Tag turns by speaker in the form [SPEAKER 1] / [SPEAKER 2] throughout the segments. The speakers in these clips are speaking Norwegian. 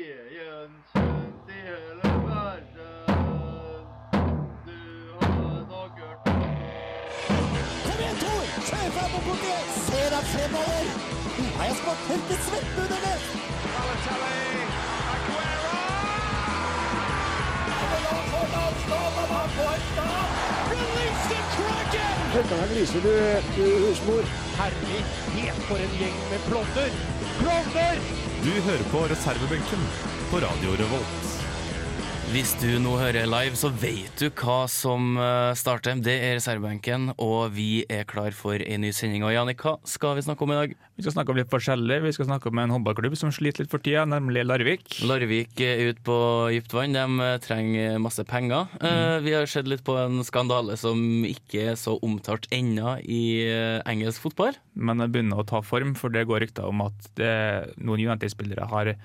[SPEAKER 1] Veden kjent i hele verden. Du har nok hørt om
[SPEAKER 2] Kom igjen, Tor! Kjør fram og bort igjen! Se deg fremover! Nå har jeg spart helt til svetten under det!
[SPEAKER 3] Du hører på reservebenken på Radio Revolt.
[SPEAKER 4] Hvis du nå hører live, så vet du hva som eh, starter. Det er reservebenken, og vi er klar for en ny sending. Og Jannik, hva skal vi snakke om i dag?
[SPEAKER 5] Vi skal snakke om litt forskjellig. Vi skal snakke om en håndballklubb som sliter litt for tida, nemlig Larvik.
[SPEAKER 4] Larvik er ute på dypt vann. De eh, trenger masse penger. Eh, Vi har sett litt på en skandale som ikke er så omtalt ennå i eh, engelsk fotball.
[SPEAKER 5] Men det begynner å ta form, for det går rykter om at det, noen United-spillere har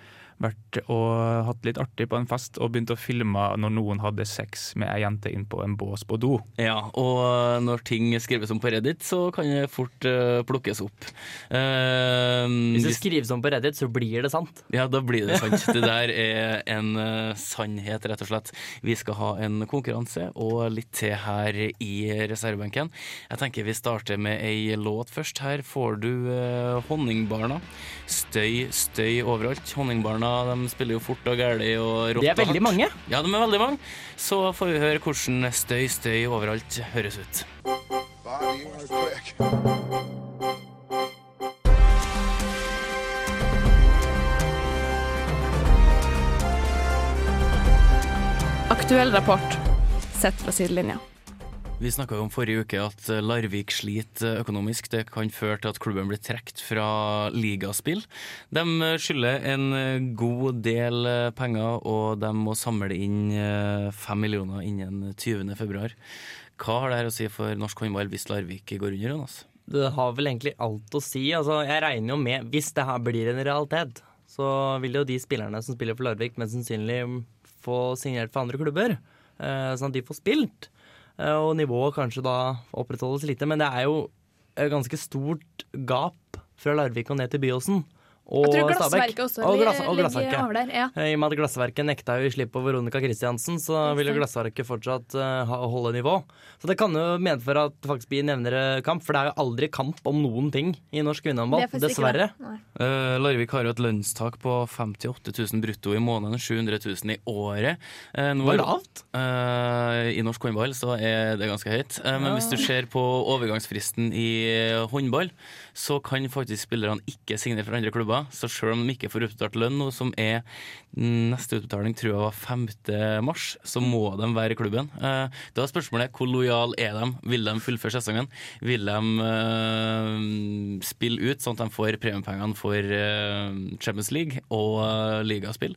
[SPEAKER 5] vært og hatt litt artig på en fest og begynt å filme når noen hadde sex med ei jente inn på en bås på do.
[SPEAKER 4] Ja, og eh, når ting skrives om på Reddit, så kan det fort eh, plukkes opp. Eh,
[SPEAKER 6] Hvis det
[SPEAKER 4] hvis-
[SPEAKER 6] skrives om på Reddit, så blir det sant.
[SPEAKER 4] Ja, da blir det sant. Det der er en eh, sannhet, rett og slett. Vi skal ha en konkurranse og litt til her i reservebenken. Jeg tenker vi starter med ei låt først. Her får du eh, Honningbarna. Støy, støy overalt. Honningbarna de spiller jo fort og gæli og rått
[SPEAKER 6] Det er
[SPEAKER 4] og
[SPEAKER 6] veldig
[SPEAKER 4] hardt.
[SPEAKER 6] mange.
[SPEAKER 4] Ja, de er veldig mange. Så får vi høre hvordan støy, støy overalt høres ut.
[SPEAKER 7] Body was quick.
[SPEAKER 8] Aktuell rapport sett fra sidelinja.
[SPEAKER 4] Vi snakka om forrige uke at eh, Larvik sliter eh, økonomisk. Det kan føre til at klubben blir trukket fra ligaspill. De eh, skylder en eh, god del eh, penger, og de må samle inn eh, fem millioner innen 20. februar. Hva har det her å si for norsk håndball hvis Larvik går under, Jonas?
[SPEAKER 6] Det har vel egentlig alt å si. Altså, jeg regner jo med, hvis det her blir en realitet, så vil jo de spillerne som spiller for Larvik, mest sannsynlig få signert for andre klubber. eh, Sånn at de får spilt. Eh, Og nivået kanskje da opprettholdes lite. Men det er jo et ganske stort gap fra Larvik og ned til Byåsen. Og
[SPEAKER 8] Jeg tror
[SPEAKER 6] Stabæk.
[SPEAKER 8] glassverket også
[SPEAKER 6] Og
[SPEAKER 8] li-
[SPEAKER 6] glass- og glassverket.
[SPEAKER 8] ligger over der. Ja.
[SPEAKER 6] Eh, I og med at Glassverket nekta jo slipp på Veronica Christiansen, så vil jo Glassverket fortsatt eh, ha- holde nivå. Så det kan jo medføre at det faktisk blir jevnere kamp, for det er jo aldri kamp om noen ting i norsk kvinnehåndball,
[SPEAKER 8] Det er faktisk ikke
[SPEAKER 6] dessverre.
[SPEAKER 8] det. Nei.
[SPEAKER 4] Eh, Larvik har jo et lønnstak på 58 000 brutto i måneden, 700 000 i året. Eh, nå
[SPEAKER 6] Det
[SPEAKER 4] er-
[SPEAKER 6] var lavt.
[SPEAKER 4] Eh, I norsk håndball så er det ganske høyt. Eh, men hvis du ser på overgangsfristen i eh, håndball, så kan faktisk spillerne ikke signere for andre klubber. Så selv om de ikke får utbetalt lønn, noe som er neste utbetaling tror jeg var 5. mars, så må de være i klubben. Eh, da er spørsmålet hvor lojal er de? Vil de fullføre sesongen? Vil de eh, spille ut sånn at de får premiepengene for eh, Champions League og eh, ligaspill?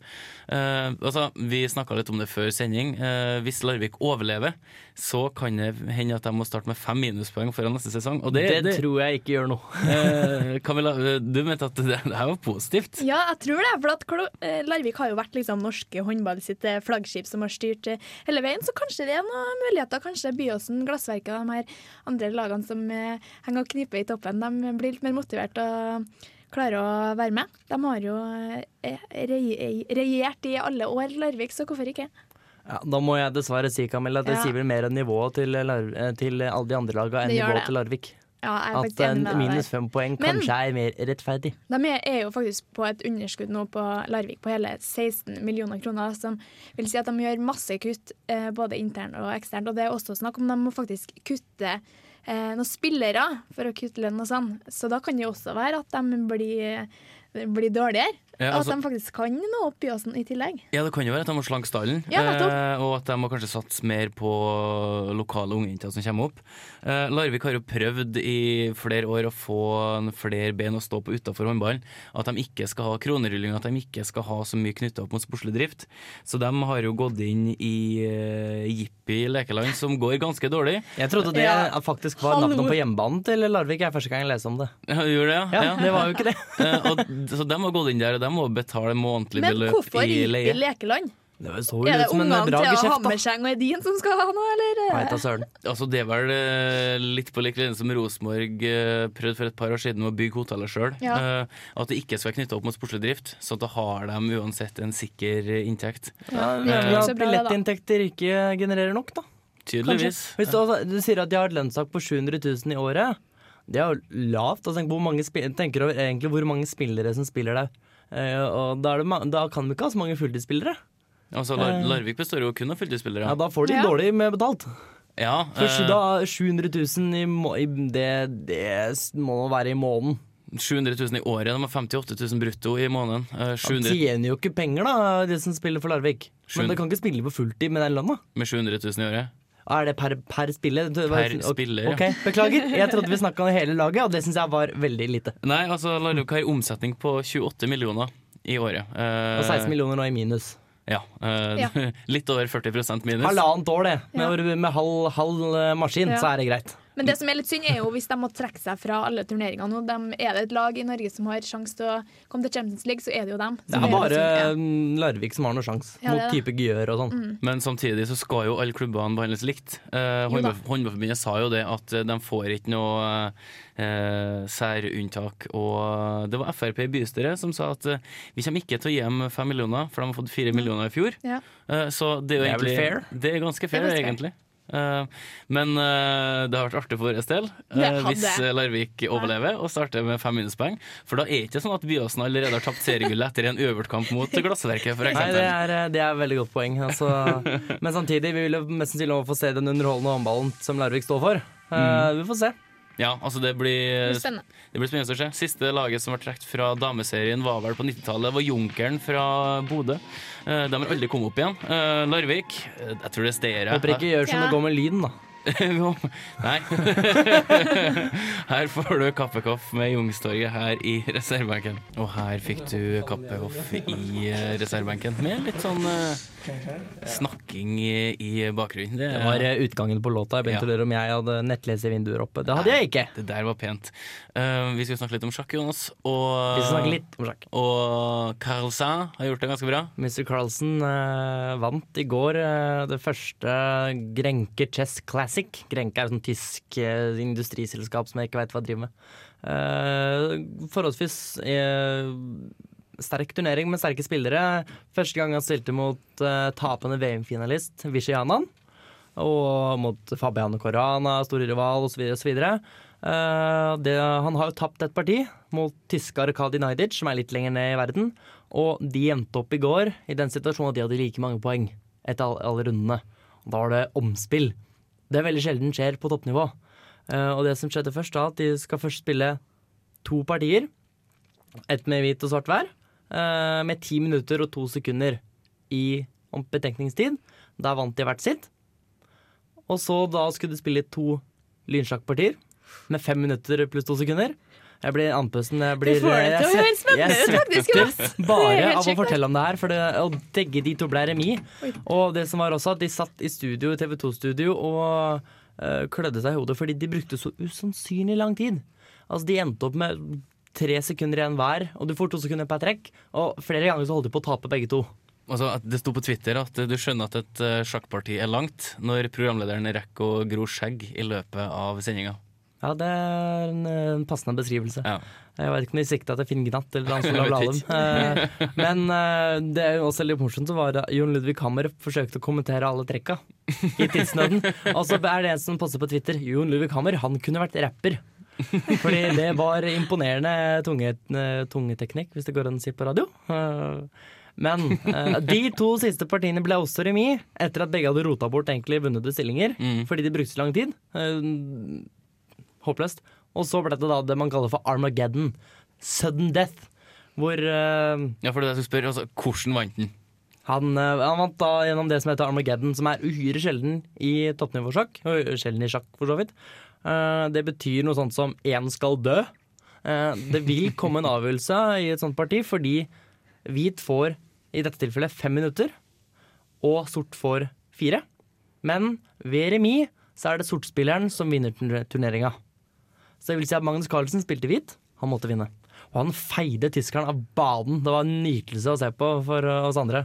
[SPEAKER 4] Eh, altså, vi snakka litt om det før sending. Eh, hvis Larvik overlever, så kan det hende at de må starte med fem minuspoeng foran neste sesong. Og det,
[SPEAKER 6] Det, tror jeg ikke gjør noe.
[SPEAKER 4] eh, Camilla, eh, du mente at det, det her var positivt.
[SPEAKER 8] Ja, jeg tror det. For at Klo- eh, Larvik har jo vært liksom norske håndball sitt eh, flaggskip som har styrt eh, hele veien, så kanskje det er noen muligheter. Kanskje Byåsen, Glassverket og de her andre lagene som eh, henger og kniper i toppen, de blir litt mer motivert og klarer å være med. De har jo eh, re- regjert i alle år, Larvik, så hvorfor ikke?
[SPEAKER 6] Ja, da må jeg dessverre si, Camilla, at det
[SPEAKER 8] Ja.
[SPEAKER 6] sier vel mer enn nivået til, Lar eh, til alle de andre lagene enn
[SPEAKER 8] Det gjør
[SPEAKER 6] nivået
[SPEAKER 8] det.
[SPEAKER 6] til Larvik.
[SPEAKER 8] Ja, jeg er
[SPEAKER 6] At
[SPEAKER 8] faktisk
[SPEAKER 6] en
[SPEAKER 8] enig med deg der.
[SPEAKER 6] minus fem poeng
[SPEAKER 8] Men-
[SPEAKER 6] kanskje er mer rettferdig.
[SPEAKER 8] De er, er jo faktisk på et underskudd nå på Larvik på hele 16 millioner kroner, som vil si at de gjør masse kutt eh, både internt og eksternt. Og det er også snakk om de må faktisk kutte eh, noen spillere for å kutte lønn og sånn. Så da kan det jo også være at de blir, blir dårligere.
[SPEAKER 4] Ja, altså-
[SPEAKER 8] og at de faktisk kan nå opp Byåsen i tillegg.
[SPEAKER 4] Ja, det kan jo være at de må slanke stallen.
[SPEAKER 8] Ja, nettopp.
[SPEAKER 4] eh, og at de må kanskje satse mer på lokale ungjenter som kommer opp. Eh, Larvik har jo prøvd i flere år å få en flere ben å stå på utafor håndballen. At de ikke skal ha kronerulling, at de ikke skal ha så mye knytta opp mot sportslig drift. Så de har jo gått inn i eh, Jippi lekeland, som går ganske dårlig.
[SPEAKER 6] Jeg trodde det
[SPEAKER 8] Ja.
[SPEAKER 6] faktisk var
[SPEAKER 8] Hallo.
[SPEAKER 6] navnet på hjemmebanen til Larvik. Det er første gang jeg leser om det.
[SPEAKER 4] Ja, Gjorde det,
[SPEAKER 6] Ja, det var jo ikke det.
[SPEAKER 4] Eh, og, så de har gått inn der, og de må betale månedlig
[SPEAKER 8] Men
[SPEAKER 4] beløp
[SPEAKER 8] hvorfor
[SPEAKER 4] i
[SPEAKER 8] gikk
[SPEAKER 4] leie.
[SPEAKER 8] de lekeland?
[SPEAKER 6] Det så jo
[SPEAKER 8] Er det
[SPEAKER 6] ut som en
[SPEAKER 8] ungene
[SPEAKER 6] bra
[SPEAKER 8] til
[SPEAKER 6] geskjeft, da.
[SPEAKER 8] Hammerseng og Edin som skal ha noe,
[SPEAKER 6] Nei,
[SPEAKER 8] eller?
[SPEAKER 6] ta søren.
[SPEAKER 4] Altså, det er vel eh, litt på lik linje som Rosenborg eh, prøvde for et par år siden med å bygge hotellet sjøl.
[SPEAKER 8] Ja.
[SPEAKER 4] Eh, at det ikke skal være knytta opp mot sportslig drift, sånn at da har de uansett en sikker eh, inntekt.
[SPEAKER 6] Ja,
[SPEAKER 8] det er
[SPEAKER 6] men
[SPEAKER 8] ikke
[SPEAKER 6] at
[SPEAKER 8] så bra, det, da.
[SPEAKER 6] Billettinntekter ikke genererer nok, da.
[SPEAKER 4] Tydeligvis.
[SPEAKER 6] Hvis du, altså, du sier at de har et lønnstak på 700 000 i året. Det er jo lavt. Altså, tenk, på hvor mange spi- tenker over egentlig hvor mange spillere som spiller der. Eh, og da, er det ma da kan vi ikke ha så mange fulltidsspillere.
[SPEAKER 4] Altså, Lar Larvik består jo kun av fulltidsspillere.
[SPEAKER 6] Eh. Ja, da får de
[SPEAKER 8] Ja.
[SPEAKER 6] dårlig med betalt.
[SPEAKER 4] Ja,
[SPEAKER 6] For
[SPEAKER 4] eh,
[SPEAKER 6] da 700 000 i, må i det, det s- må være i måneden.
[SPEAKER 4] 700 000 i året. De har 58 000 brutto i måneden. Eh,
[SPEAKER 6] De
[SPEAKER 4] 700,
[SPEAKER 6] tjener jo ikke penger, da, de som spiller for Larvik.
[SPEAKER 4] 700
[SPEAKER 6] Men de kan ikke spille på fulltid med den lønna.
[SPEAKER 4] med 700 000 i året.
[SPEAKER 6] Er det per, per spiller? Du-
[SPEAKER 4] Per
[SPEAKER 6] ok,
[SPEAKER 4] spiller, ja.
[SPEAKER 6] Ok, Beklager, jeg trodde vi snakka om hele laget, og det syns jeg var veldig lite.
[SPEAKER 4] Nei, altså Larvik har omsetning på 28 millioner i året. Eh,
[SPEAKER 6] Og 16 millioner nå i minus.
[SPEAKER 4] Ja, eh,
[SPEAKER 8] Ja.
[SPEAKER 4] Litt over 40 minus.
[SPEAKER 6] Halvannet år, det.
[SPEAKER 8] Ja.
[SPEAKER 6] Med, med halv, halv eh, maskin,
[SPEAKER 8] Ja.
[SPEAKER 6] så er det greit.
[SPEAKER 8] Men det som er litt synd, er jo hvis de må trekke seg fra alle turneringene nå. De, er det et lag i Norge som har sjanse til å komme til Champions League, så er det jo dem. Så
[SPEAKER 6] Det er bare
[SPEAKER 8] litt synd,
[SPEAKER 6] mm, Larvik som har noen sjanse,
[SPEAKER 8] Ja, det er
[SPEAKER 6] mot
[SPEAKER 8] det. Mm.
[SPEAKER 6] type Gjør og sånn.
[SPEAKER 4] Men samtidig så skal jo alle klubbene behandles likt. Eh,
[SPEAKER 8] Jo da.
[SPEAKER 4] Håndball- Håndballforbundet sa jo det at eh, de får ikke noe eh, særunntak. Og eh, det var Frp i bystyret som sa at eh, vi kommer ikke til å gi dem fem millioner, for de har fått fire millioner i fjor.
[SPEAKER 8] Ja.
[SPEAKER 4] Eh, så det er jo
[SPEAKER 6] Det er vel
[SPEAKER 4] egentlig
[SPEAKER 6] fair?
[SPEAKER 4] Det er ganske fair,
[SPEAKER 8] Det er ganske
[SPEAKER 4] egentlig. Eh, men eh, det har vært artig for vår del eh,
[SPEAKER 8] Det hadde.
[SPEAKER 4] hvis eh, Larvik overlever og starter med fem minuspoeng. For da er det ikke sånn at Byåsen allerede har tapt seriegullet etter en uavgjort kamp mot Glassverket, f.eks.
[SPEAKER 6] Nei, det er, eh, det er et veldig godt poeng. Altså. Men samtidig, vi vil jo mest sannsynlig få se den underholdende håndballen som Larvik står for. Eh, Vi får se.
[SPEAKER 4] Ja, altså det
[SPEAKER 8] ja.
[SPEAKER 4] blir,
[SPEAKER 8] Det er Spennende.
[SPEAKER 4] det blir spennende å se. Siste laget som ble trukket fra dameserien var vel på 90-tallet. var Junkeren fra Bodø. Eh, De har aldri kommet opp igjen. Eh, Larvik, eh, jeg tror det er Steira.
[SPEAKER 6] Håper ikke gjør som
[SPEAKER 8] Ja.
[SPEAKER 6] det går med lyden, da.
[SPEAKER 4] Nei. Her får du Kappekoff med Jungstorget her i reservebenken. Og her fikk du Kappekoff i eh, reservebenken med litt sånn eh, snakking i, i bakgrunnen.
[SPEAKER 6] Det var eh, utgangen på låta. Jeg begynte
[SPEAKER 4] Ja.
[SPEAKER 6] å lure om jeg hadde nettleservinduer oppe. Det hadde jeg ikke.
[SPEAKER 4] Det der var pent. Eh, vi skal snakke litt om sjakk, Jonas. Og
[SPEAKER 6] Vi skal snakke litt om sjakk.
[SPEAKER 4] Og Carlsen har gjort det ganske bra.
[SPEAKER 6] Mr. Carlsen eh, vant i går eh, det første Grenke Chess Classic. Grenke er et sånt tysk eh, industriselskap som jeg ikke veit hva driver med. Eh, forholdsvis eh, sterk turnering med sterke spillere. Første gang han stilte mot eh, tapende VM-finalist Vishy Hanan. Og mot Fabiano Corana, store rival osv. osv. Uh, det, han har jo tapt et parti mot tyske Arkadi Najdic, som er litt lenger ned i verden. Og de jevnte opp i går i den situasjonen at de hadde like mange poeng etter alle, alle rundene. Og Da var det omspill. Det er veldig sjelden skjer på toppnivå. Eh, og det som skjedde først, da, at de skal først spille to partier. Ett med hvit og svart hver. eh, med ti minutter og to sekunder i om- betenkningstid. Der vant de hvert sitt. Og så da skulle de spille to lynsjakkpartier med fem minutter pluss to sekunder. Jeg blir andpusten. Jeg blir
[SPEAKER 8] Det får det
[SPEAKER 6] jeg
[SPEAKER 8] til å høres
[SPEAKER 6] svett- jeg
[SPEAKER 8] spennende ut, faktisk.
[SPEAKER 6] svetter
[SPEAKER 8] Jonas. Det er
[SPEAKER 6] bare
[SPEAKER 8] helt
[SPEAKER 6] av å
[SPEAKER 8] sjukt, det.
[SPEAKER 6] fortelle om det her, for det, og begge de to ble remis.
[SPEAKER 8] Oi.
[SPEAKER 6] Og det som var også at de satt i studio, TV 2-studio og eh, klødde seg i hodet fordi de brukte så usannsynlig lang tid. Altså, de endte opp med tre sekunder igjen hver, og du får to sekunder per trekk. Og flere ganger så holdt de på å tape begge to.
[SPEAKER 4] Altså, at det sto på Twitter at du skjønner at et eh, sjakkparti er langt når programlederen rekker å gro skjegg i løpet av sendinga.
[SPEAKER 6] Ja, det er en, eh, en passende beskrivelse.
[SPEAKER 4] Ja.
[SPEAKER 6] Jeg vet ikke om de sikta til Finn Gnatt eller Hans
[SPEAKER 4] Jeg
[SPEAKER 6] Olav
[SPEAKER 4] vet
[SPEAKER 6] Lahlum. Eh, Men eh, det er jo også litt morsomt så var det Jon Ludvig Hammerup forsøkte å kommentere alle trekka i tidsnøden. Og så er det en som poster på Twitter Jon Ludvig Hammer, han kunne vært rapper. Fordi det var imponerende tunge, eh, tungeteknikk, hvis det går an å si på radio. Eh, Men eh, de to siste partiene ble også remis, etter at begge hadde rota bort egentlig vunnede stillinger.
[SPEAKER 4] Mm.
[SPEAKER 6] Fordi de brukte så lang tid. Eh, håpløst. Og så ble det da det man kaller for Armageddon. Sudden death. Hvor eh,
[SPEAKER 4] ja, for det er det jeg skulle spørre, altså, hvordan vant den?
[SPEAKER 6] han, eh, han vant da gjennom det som heter Armageddon, som er uhyre sjelden i toppnivåsjakk. Og sjelden i sjakk, for så vidt. Eh, det betyr noe sånt som én skal dø. Eh, det vil komme en avgjørelse i et sånt parti, fordi hvit får i dette tilfellet fem minutter, og sort får fire. Men ved remis så er det sortspilleren som vinner turneringa. Så det vil si at Magnus Carlsen spilte hvit, han måtte vinne. Og han feide tyskeren av banen. Det var en nytelse å se på for eh, oss andre.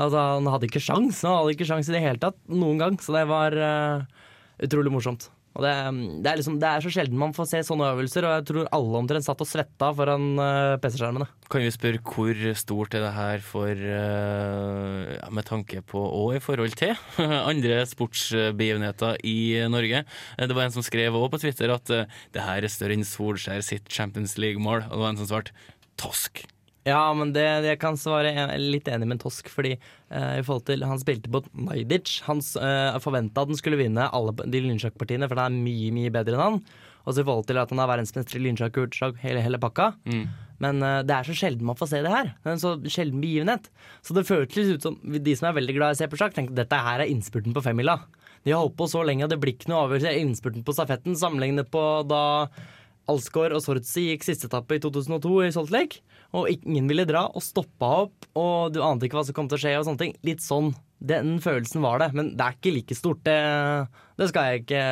[SPEAKER 6] Altså, han hadde ikke sjans, han hadde ikke sjans i det hele tatt noen gang. Så det var eh, utrolig morsomt. Og det, det, er liksom, det er så sjelden man får se sånne øvelser, og jeg tror alle omtrent satt og svetta foran eh, PC-skjermene.
[SPEAKER 4] Kan vi spørre hvor stort er det her for eh, ja, Med tanke på og i forhold til andre sportsbegivenheter i Norge. Eh, Det var en som skrev også på Twitter at eh, det her er større enn Solskjær sitt Champions League-mål. Og det var en som svarte tosk.
[SPEAKER 6] Ja, men det, jeg kan svare en, litt enig med Tosk, fordi eh, i forhold til han spilte på Majdic. Han eh, forventa at han skulle vinne alle p- de lynsjakkpartiene, for han er mye mye bedre enn han. Og så i forhold til at han er verdensmester i lynsjakk og urtsjakk, hele, hele pakka. Men eh, det er så sjelden man får se det her. Det er en så sjelden begivenhet. Så det føltes ut som de som er veldig glad i å se på sjakk, tenkte dette her er innspurten på femmila. De har holdt på så lenge, og det blir ikke noe avgjørelse. Innspurten på stafetten sammenlignet på da Alsgaard og Sortsi gikk siste etappe i 2002 i Salt Lake. Og ingen ville dra, og stoppa opp, og du ante ikke hva som kom til å skje. og sånne ting. Litt sånn. Den følelsen var det, men det er ikke like stort. Det, det skal jeg ikke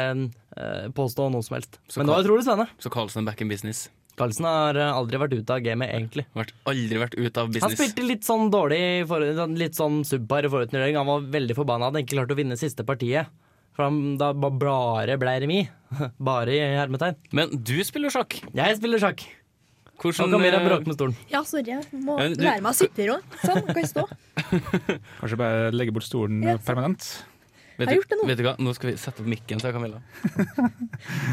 [SPEAKER 6] eh, påstå noe som helst.
[SPEAKER 4] Så
[SPEAKER 6] men det var
[SPEAKER 4] Carl-
[SPEAKER 6] utrolig spennende.
[SPEAKER 4] Så Carlsen er back in business.
[SPEAKER 6] Carlsen har eh, aldri vært ute av gamet, egentlig.
[SPEAKER 4] Vært, aldri vært ute av
[SPEAKER 6] Han
[SPEAKER 4] business.
[SPEAKER 6] spilte litt sånn dårlig, i forhold- sånn- litt sånn subpar i forutnøring. Han var veldig forbanna at han ikke klarte å vinne siste partiet. For han, da ba- bare ble remis. Bare i hermetegn.
[SPEAKER 4] Men du spiller sjakk.
[SPEAKER 6] Jeg spiller sjakk. Nå
[SPEAKER 4] Hvordan,
[SPEAKER 6] kan Mira
[SPEAKER 4] eh,
[SPEAKER 6] bråke med stolen.
[SPEAKER 8] Ja, sorry. Jeg må
[SPEAKER 4] Ja, du-
[SPEAKER 8] lære meg å sitte i ro. Sånn, kan jeg stå.
[SPEAKER 5] Kanskje bare legge bort stolen
[SPEAKER 8] Yes.
[SPEAKER 5] permanent.
[SPEAKER 4] eh, vet,
[SPEAKER 8] Har
[SPEAKER 4] du-
[SPEAKER 8] gjort det nå.
[SPEAKER 4] Vet du hva? Nå skal vi sette opp mikken til Camilla.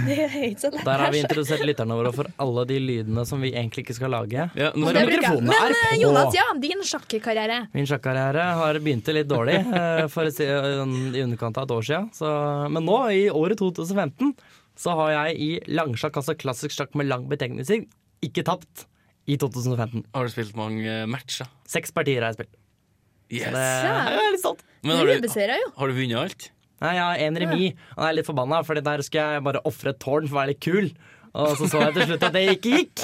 [SPEAKER 8] Det er ikke så lett.
[SPEAKER 6] Der har vi introdusert lytterne våre for alle de lydene som vi egentlig ikke skal lage.
[SPEAKER 4] Ja, nå
[SPEAKER 8] Og
[SPEAKER 4] skal
[SPEAKER 8] det
[SPEAKER 4] vi-
[SPEAKER 8] bruker jeg.
[SPEAKER 6] mikrofonene
[SPEAKER 8] Men
[SPEAKER 6] er
[SPEAKER 8] eh,
[SPEAKER 6] på.
[SPEAKER 8] Jonas, ja, din sjakkekarriere.
[SPEAKER 6] Min sjakkarriere har begynt litt dårlig eh, for å si, eh, i underkant av et år siden. Så, men nå, i året 2015, så har jeg i langsjakk, altså klassisk sjakk med lang betegnelse, ikke tapt i 2015.
[SPEAKER 4] har du spilt mange eh, matcher?
[SPEAKER 6] Seks partier har jeg spilt.
[SPEAKER 4] Yes.
[SPEAKER 6] Så det, jeg er litt stolt.
[SPEAKER 4] Men
[SPEAKER 8] Du
[SPEAKER 4] har du,
[SPEAKER 8] reduserer jo.
[SPEAKER 4] har du vunnet alt?
[SPEAKER 6] Nei, jeg har en remis, og jeg er litt forbanna, for der skulle jeg bare ofre et tårn for å være litt kul. Og så så jeg til slutt at det ikke gikk.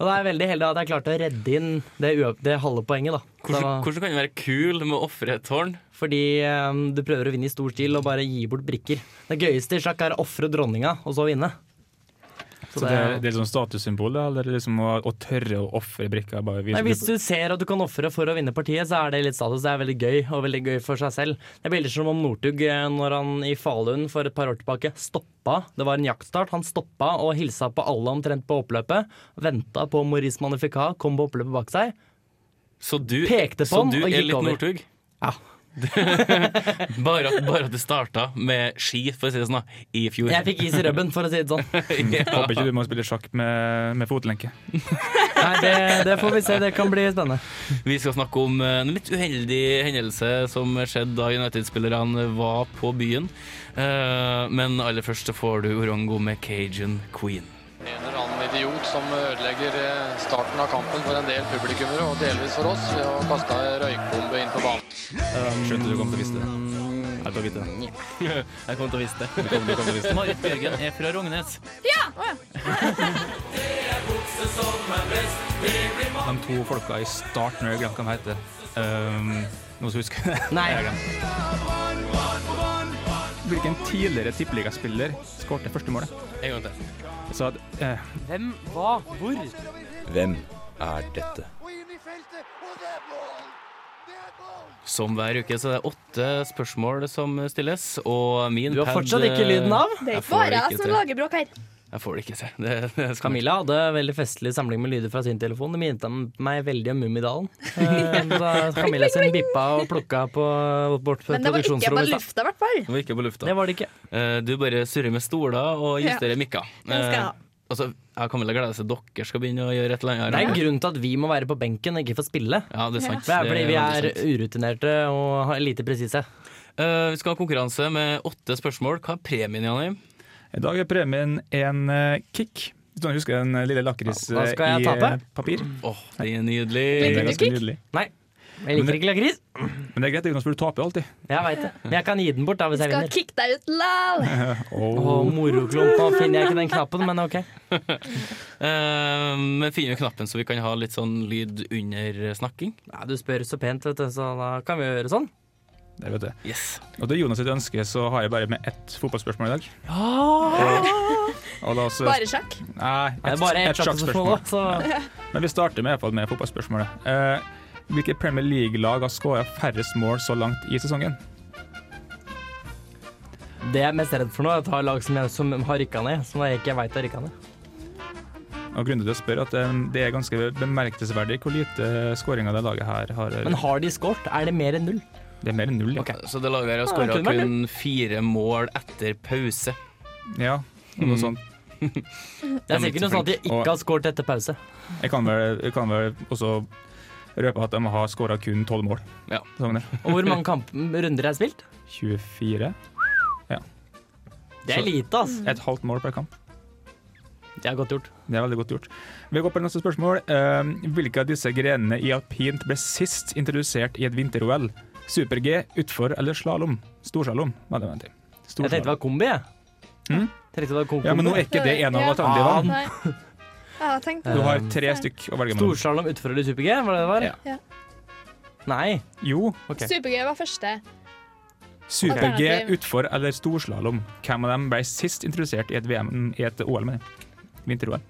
[SPEAKER 6] Og da er jeg veldig heldig at jeg klarte å redde inn det, uav- det halve poenget, da. Så det
[SPEAKER 4] Hvordan,
[SPEAKER 6] var-
[SPEAKER 4] hvordan kan du være kul med å ofre et tårn?
[SPEAKER 6] Fordi eh, du prøver å vinne i stor stil og bare gi bort brikker. Det gøyeste i sjakk er å ofre dronninga, og så vinne. Så
[SPEAKER 5] Så det,
[SPEAKER 6] det,
[SPEAKER 5] er- det er liksom statussymbol, da, eller liksom å, å tørre å ofre brikka? Bare vise
[SPEAKER 6] Nei, hvis
[SPEAKER 5] du-
[SPEAKER 6] du ser at du kan ofre for å vinne partiet, så er det litt status. Det er veldig gøy, og veldig gøy for seg selv. Det er bilder som om Northug eh, når han i Falun for et par år tilbake stoppa. Det var en jaktstart. Han stoppa og hilsa på alle omtrent på oppløpet. Venta på Maurice Magnificat, kom på oppløpet bak seg.
[SPEAKER 4] Så du,
[SPEAKER 6] Pekte på
[SPEAKER 4] så
[SPEAKER 6] han
[SPEAKER 4] du
[SPEAKER 6] og
[SPEAKER 4] er
[SPEAKER 6] gikk
[SPEAKER 4] litt
[SPEAKER 6] over.
[SPEAKER 4] Northug?
[SPEAKER 6] Ja.
[SPEAKER 4] Bare at, bare at det starta med ski, for å si det sånn, da, i fjor.
[SPEAKER 6] Jeg fikk is i rubben, for å si det sånn.
[SPEAKER 5] Håper ikke du må spille sjakk med, med fotlenke.
[SPEAKER 6] Nei, det, det får vi se. Det kan bli spennende.
[SPEAKER 4] Vi skal snakke om eh, en litt uheldig hendelse som skjedde da United-spillerne var på byen. Eh, Men aller først så får du Orongo med Cajun Queen.
[SPEAKER 9] En eller annen idiot som ødelegger eh, starten av kampen for en del publikummere, og delvis for oss, ved å kaste ei røykbombe inn på banen.
[SPEAKER 5] Skjønte du kom til å vise det. Jeg tar vite
[SPEAKER 4] Mm,
[SPEAKER 5] det.
[SPEAKER 4] Jeg kommer til å vise det. Marit Bjørgen er fra Rognes.
[SPEAKER 8] Ja, å, ja.
[SPEAKER 5] De to folka i starten, jeg glemte hva de heter. Um, noen som husker det?
[SPEAKER 6] Nei.
[SPEAKER 5] Jeg har glemt. Hvilken tidligere tippeligaspiller skåret første målet?
[SPEAKER 4] En gang til.
[SPEAKER 5] Så at, eh,
[SPEAKER 6] Hvem, hva, hvor?
[SPEAKER 4] Som hver uke så er det åtte spørsmål som stilles, og min
[SPEAKER 6] Du har
[SPEAKER 4] pad,
[SPEAKER 6] fortsatt ikke lyden av.
[SPEAKER 8] Det er
[SPEAKER 4] Jeg
[SPEAKER 8] ikke
[SPEAKER 4] får det
[SPEAKER 8] bare
[SPEAKER 4] ikke
[SPEAKER 8] jeg som
[SPEAKER 4] til.
[SPEAKER 8] lager bråk her.
[SPEAKER 4] Jeg får det ikke til. Det, det skal
[SPEAKER 6] Camilla hadde en veldig festlig samling med lyder fra sin telefon. Det minnet om- meg veldig om Mummidalen. Eh, Da Camilla sin bippa og plukka på bort på
[SPEAKER 8] Men det var ikke på
[SPEAKER 6] produksjonsrommet. i stad.
[SPEAKER 8] lufta, i hvert fall.
[SPEAKER 4] Det var ikke på lufta.
[SPEAKER 6] Det var det ikke.
[SPEAKER 4] Eh, Du bare surrer med stoler og justerer mikker.
[SPEAKER 8] Den skal jeg ha.
[SPEAKER 4] Eh, Altså, jeg kommer til å glede meg til at dere skal begynne å gjøre et eller annet. her.
[SPEAKER 6] Det er en grunn til at vi må være på benken og ikke få spille.
[SPEAKER 4] Ja, det er sant.
[SPEAKER 6] Det er fordi
[SPEAKER 4] Det
[SPEAKER 6] vi
[SPEAKER 4] veldig
[SPEAKER 6] er
[SPEAKER 4] sant.
[SPEAKER 6] urutinerte og har lite presise.
[SPEAKER 4] Eh, vi skal ha konkurranse med åtte spørsmål. Hva er premien, Janni?
[SPEAKER 5] I dag er premien en eh, kick. Hvis noen husker den lille lakris
[SPEAKER 6] Da
[SPEAKER 5] eh,
[SPEAKER 6] skal jeg
[SPEAKER 5] i eh,
[SPEAKER 6] tape. Mm.
[SPEAKER 5] papir.
[SPEAKER 4] Åh, det er
[SPEAKER 5] Det er
[SPEAKER 4] nydelig.
[SPEAKER 5] ganske nydelig.
[SPEAKER 6] Nei, jeg liker ikke lakris.
[SPEAKER 5] Men det er greit, Jonas, for du taper jo alltid.
[SPEAKER 6] Jeg vet det. Men jeg kan gi den bort da hvis jeg
[SPEAKER 8] Skal
[SPEAKER 6] vinner.
[SPEAKER 8] kicke deg ut, lal.
[SPEAKER 6] Å, moroklump. Nå finner jeg ikke den knappen, men OK.
[SPEAKER 4] Eh, Men finner vi knappen så vi kan ha litt sånn lyd under snakking?
[SPEAKER 6] Ja, du spør så pent, vet du, så da kan vi gjøre sånn.
[SPEAKER 5] Der, vet du.
[SPEAKER 4] Yes.
[SPEAKER 5] Og til Jonas sitt ønske så har jeg bare med ett fotballspørsmål i dag. Og da så,
[SPEAKER 8] Bare sjakk.
[SPEAKER 5] nei, et,
[SPEAKER 6] Det er bare
[SPEAKER 5] et
[SPEAKER 6] ett
[SPEAKER 5] sjakkspørsmål.
[SPEAKER 6] sjakkspørsmål, så
[SPEAKER 5] Men vi starter med, i hvert fall med fotballspørsmålet. Eh, hvilke Premier League-lag har skåra færrest mål så langt i sesongen?
[SPEAKER 6] det jeg er mest redd for nå, er at jeg har lag som, jeg, som har rykka ned, som jeg ikke veit har rykka ned.
[SPEAKER 5] Og grunnen til å spørre er at eh, Det er ganske bemerkelsesverdig hvor lite skåringer det laget her har.
[SPEAKER 6] Men har de skåret? Er det mer enn null?
[SPEAKER 5] Det er mer enn null. ja.
[SPEAKER 4] Så det laget her har
[SPEAKER 6] Ja, det
[SPEAKER 4] skåra
[SPEAKER 6] kunne vært
[SPEAKER 4] kun fire mål etter pause.
[SPEAKER 5] Ja, og noe sånt.
[SPEAKER 6] Det er sikkert noe sånn at de ikke har skåret etter pause.
[SPEAKER 5] Jeg kan vel, jeg kan vel også røpe at de har skåra kun tolv mål. Sånn
[SPEAKER 4] Ja.
[SPEAKER 5] Sesongen her.
[SPEAKER 6] Og hvor mange kamp, runder er spilt?
[SPEAKER 5] 24.
[SPEAKER 6] Det er
[SPEAKER 5] Så-
[SPEAKER 6] lite, ass.
[SPEAKER 5] Et halvt mål per kamp.
[SPEAKER 6] Det er godt gjort.
[SPEAKER 5] Det er veldig godt gjort. Vi går på neste spørsmål. Eh, hvilke av disse grenene i alpint ble sist introdusert i et vinter-OL? Super-G, utfor eller slalåm? Storslalåm, var det mente.
[SPEAKER 6] Jeg tenkte det var kombi, jeg.
[SPEAKER 5] Mm.
[SPEAKER 6] Tenkte det var kom
[SPEAKER 5] Ja, men nå er ikke det en av
[SPEAKER 8] Ja.
[SPEAKER 5] alternativene.
[SPEAKER 8] Nei. Ja, jeg tenkte
[SPEAKER 5] Eh. Du
[SPEAKER 8] det.
[SPEAKER 5] har tre stykk å velge mellom.
[SPEAKER 6] Storslalåm utenfor eller super-G, var det det var?
[SPEAKER 5] Ja.
[SPEAKER 8] Ja.
[SPEAKER 6] Nei.
[SPEAKER 5] Jo,
[SPEAKER 6] ok.
[SPEAKER 8] Supergøy var første.
[SPEAKER 5] Super-G,
[SPEAKER 8] Alternativ.
[SPEAKER 5] utfor eller storslalåm. Hvem av dem ble sist introdusert i et VM i et OL, mener jeg. Vinter-OL.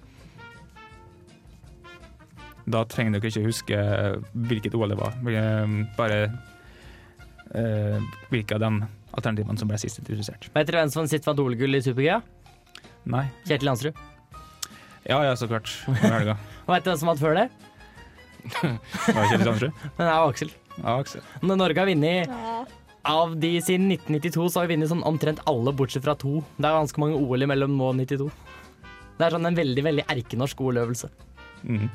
[SPEAKER 5] Da trenger dere ikke huske hvilket OL det var. Eh, Bare eh, hvilke av de alternativene som ble sist introdusert.
[SPEAKER 6] Vet dere hvem som sitt vant OL-gull i super-G?
[SPEAKER 5] Nei.
[SPEAKER 6] Kjetil Jansrud.
[SPEAKER 5] Ja ja, så klart. Om helga.
[SPEAKER 6] Og vet dere hvem som vant før det?
[SPEAKER 5] Var det Kjetil Sandtrud?
[SPEAKER 6] Men det er jo Aksel.
[SPEAKER 5] Ja, Aksel.
[SPEAKER 6] Når Norge har vunnet
[SPEAKER 8] Ja.
[SPEAKER 6] av de siden 1992, så har vi vunnet sånn omtrent alle, bortsett fra to. Det er ganske mange OL imellom nå og 92. Det er sånn en veldig veldig erkenorsk OL-øvelse.
[SPEAKER 5] Mhm.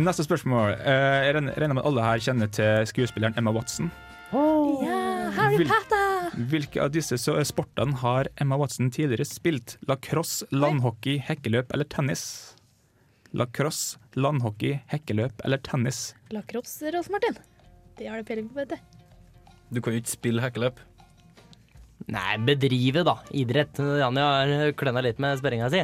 [SPEAKER 5] Neste spørsmål. Eh, Jeg regner regner med at alle her kjenner til skuespilleren Emma Watson.
[SPEAKER 6] Oh.
[SPEAKER 8] ja, Harry
[SPEAKER 5] Vil-
[SPEAKER 8] Potter!
[SPEAKER 5] Hvilke av disse så- sportene har Emma Watson tidligere spilt? Lacrosse, landhockey, hekkeløp eller tennis? Lacrosse, landhockey, hekkeløp eller tennis?
[SPEAKER 8] Lacrosse, Rolf Martin. Det har du peiling på, vet du.
[SPEAKER 4] Du kan jo ikke spille hekkeløp.
[SPEAKER 6] Nei, bedrive, da. Idrett. Janni har kløna litt med sperringa si.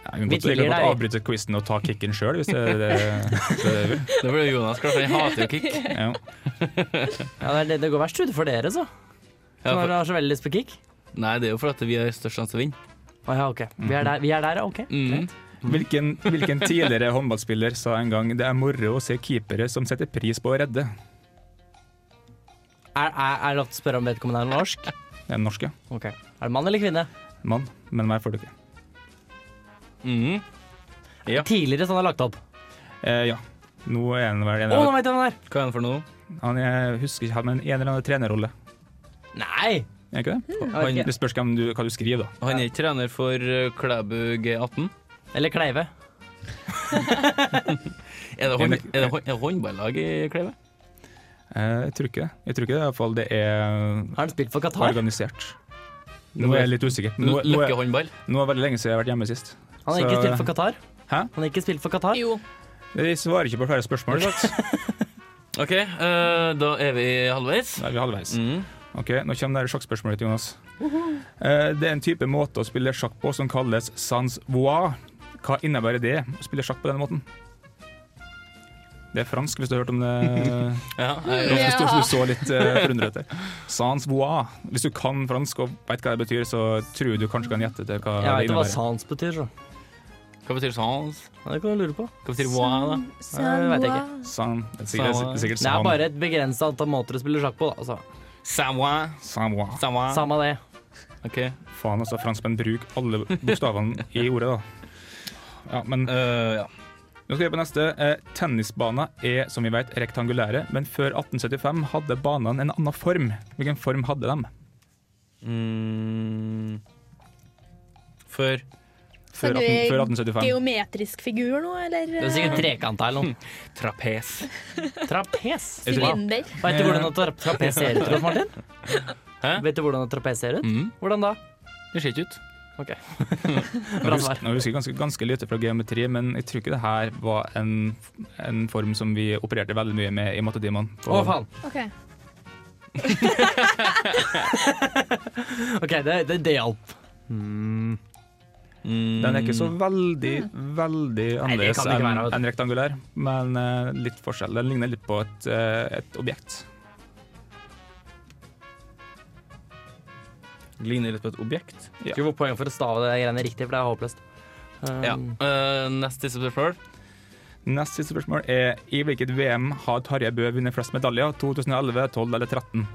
[SPEAKER 5] Ja, Jeg kan
[SPEAKER 6] Vi
[SPEAKER 5] godt, jeg kan godt
[SPEAKER 6] tilgir deg.
[SPEAKER 5] avbryte quizen og ta kicken sjøl, hvis det er det hvis det er det du vil.
[SPEAKER 4] Det ble Jonas klar for, han hater jo kick.
[SPEAKER 5] Ja.
[SPEAKER 6] Ja, det, er det- det går verst ut for dere, så.
[SPEAKER 4] Ja,
[SPEAKER 6] Når
[SPEAKER 4] for,
[SPEAKER 6] dere har så veldig lyst på kick.
[SPEAKER 4] nei, det er jo fordi at vi har størst sjanse til å vinne.
[SPEAKER 6] Å ja, OK. Vi er der, vi er der ja. OK.
[SPEAKER 4] Mm.
[SPEAKER 5] Hvilken, hvilken tidligere håndballspiller sa en gang det er moro å se keepere som setter pris på å redde?
[SPEAKER 6] Er, er, er det lov til å spørre om vedkommende er norsk?
[SPEAKER 5] Det er en norsk, ja.
[SPEAKER 6] Ok. Er det mann eller kvinne?
[SPEAKER 5] Mann. Men meg får du ikke.
[SPEAKER 4] Mm. Ja.
[SPEAKER 6] Tidligere sånn har lagt opp. Å,
[SPEAKER 5] Eh, ja. Nå er han vel en
[SPEAKER 6] nå
[SPEAKER 5] eller
[SPEAKER 6] vet jeg hvem det er!
[SPEAKER 4] Hva er det for noe?
[SPEAKER 5] Han jeg husker ikke, han, men en eller annen trenerrolle.
[SPEAKER 6] Nei!
[SPEAKER 5] Er det ikke det?
[SPEAKER 4] Han,
[SPEAKER 6] Ok.
[SPEAKER 5] Det spørs hvem du, hva du skriver, da.
[SPEAKER 4] han er ikke trener for eh, Klæbu G18.
[SPEAKER 6] Eller Kleive.
[SPEAKER 4] Er det, hånd, er det, hånd, er det håndballag i Klæbu?
[SPEAKER 5] Eh, Jeg tror ikke det. Jeg tror ikke det, i hvert fall det er
[SPEAKER 6] Har han spilt for Qatar?
[SPEAKER 5] organisert. Nå er jeg litt usikker. Nå, nå,
[SPEAKER 4] Løkke
[SPEAKER 5] er,
[SPEAKER 4] håndball?
[SPEAKER 5] nå er det veldig lenge siden jeg har vært hjemme sist.
[SPEAKER 6] Han har ikke
[SPEAKER 5] Så-
[SPEAKER 6] spilt for Qatar.
[SPEAKER 5] Hæ?
[SPEAKER 6] Han har ikke spilt for Qatar.
[SPEAKER 8] Jo.
[SPEAKER 5] Eh, Jeg svarer ikke på flere spørsmål. sant?
[SPEAKER 4] OK, eh, da er vi halvveis.
[SPEAKER 5] Da er vi halvveis.
[SPEAKER 4] Mm.
[SPEAKER 5] Ok, Nå kommer det sjakkspørsmålet til Jonas. Eh, Det er en type måte å spille sjakk på som kalles sans voir. Hva innebærer det, å spille sjakk på denne måten? Det er fransk, hvis du har hørt om det.
[SPEAKER 4] Ja, eh, jeg,
[SPEAKER 5] Hvis du,
[SPEAKER 8] Ja.
[SPEAKER 5] hvis du så litt eh, forundret etter. Sans voir. Hvis du kan fransk og veit hva det betyr, så tror jeg du kanskje kan gjette til hva
[SPEAKER 6] Jeg
[SPEAKER 5] det
[SPEAKER 6] veit hva
[SPEAKER 5] innebærer.
[SPEAKER 6] sans betyr, så.
[SPEAKER 4] hva betyr sans?
[SPEAKER 6] Ja, det kan du lure på.
[SPEAKER 4] Hva betyr moi, da?
[SPEAKER 6] Nei, det vet jeg ikke.
[SPEAKER 5] San, det er sikkert,
[SPEAKER 4] Samoa.
[SPEAKER 5] det er sikkert
[SPEAKER 6] Det er
[SPEAKER 5] Sam.
[SPEAKER 6] bare et begrensa antall måter å spille sjakk på, da. Altså.
[SPEAKER 4] Samoa.
[SPEAKER 5] Samoa.
[SPEAKER 4] Samoa.
[SPEAKER 6] Samme det.
[SPEAKER 4] OK.
[SPEAKER 5] Faen, altså, franskmenn bruker alle bokstavene i ordet, da. Ja, men nå
[SPEAKER 4] Eh, ja.
[SPEAKER 5] skal vi på neste. Eh, tennisbaner er, som vi vet, rektangulære, men før 1875 hadde banene en annen form. Hvilken form hadde de?
[SPEAKER 4] Mm. Før
[SPEAKER 5] Før, 18,
[SPEAKER 8] Snakker vi
[SPEAKER 5] før 1875.
[SPEAKER 8] Geometrisk figur nå, eller?
[SPEAKER 6] Det er sikkert trekanta eller noe.
[SPEAKER 4] trapes.
[SPEAKER 6] Trapes.
[SPEAKER 8] Sylinder.
[SPEAKER 6] Vet du hvordan et tra- trapes ser ut, Rolf Martin?
[SPEAKER 4] Hæ?
[SPEAKER 6] Vet du hvordan et trapes ser ut?
[SPEAKER 4] Mm.
[SPEAKER 6] Hvordan da?
[SPEAKER 4] Det ser ikke ut.
[SPEAKER 6] OK.
[SPEAKER 5] Nå
[SPEAKER 6] Bra svar.
[SPEAKER 5] husker, nå husker jeg ganske, ganske lite fra geometri, men jeg tror ikke det her var en, en form som vi opererte veldig mye med i mattetimene.
[SPEAKER 6] Å, faen.
[SPEAKER 8] Ok.
[SPEAKER 6] OK, det, det, det hjalp.
[SPEAKER 4] Mm.
[SPEAKER 5] Den er ikke så veldig, veldig
[SPEAKER 6] det
[SPEAKER 5] annerledes
[SPEAKER 6] kan det ikke
[SPEAKER 5] enn
[SPEAKER 6] være, altså. vet du.
[SPEAKER 5] enn rektangulær, men eh, litt forskjell. Den ligner litt på et, eh, et objekt.
[SPEAKER 10] Ligner litt på et objekt.
[SPEAKER 5] Ja.
[SPEAKER 6] Skulle få poeng for å stave det greiene riktig, for det er håpløst. Um,
[SPEAKER 4] Ja. Eh, neste spørsmål.
[SPEAKER 5] Nest siste spørsmål er i hvilket VM har Tarjei Bø vunnet flest medaljer? 2011, 12 eller 13?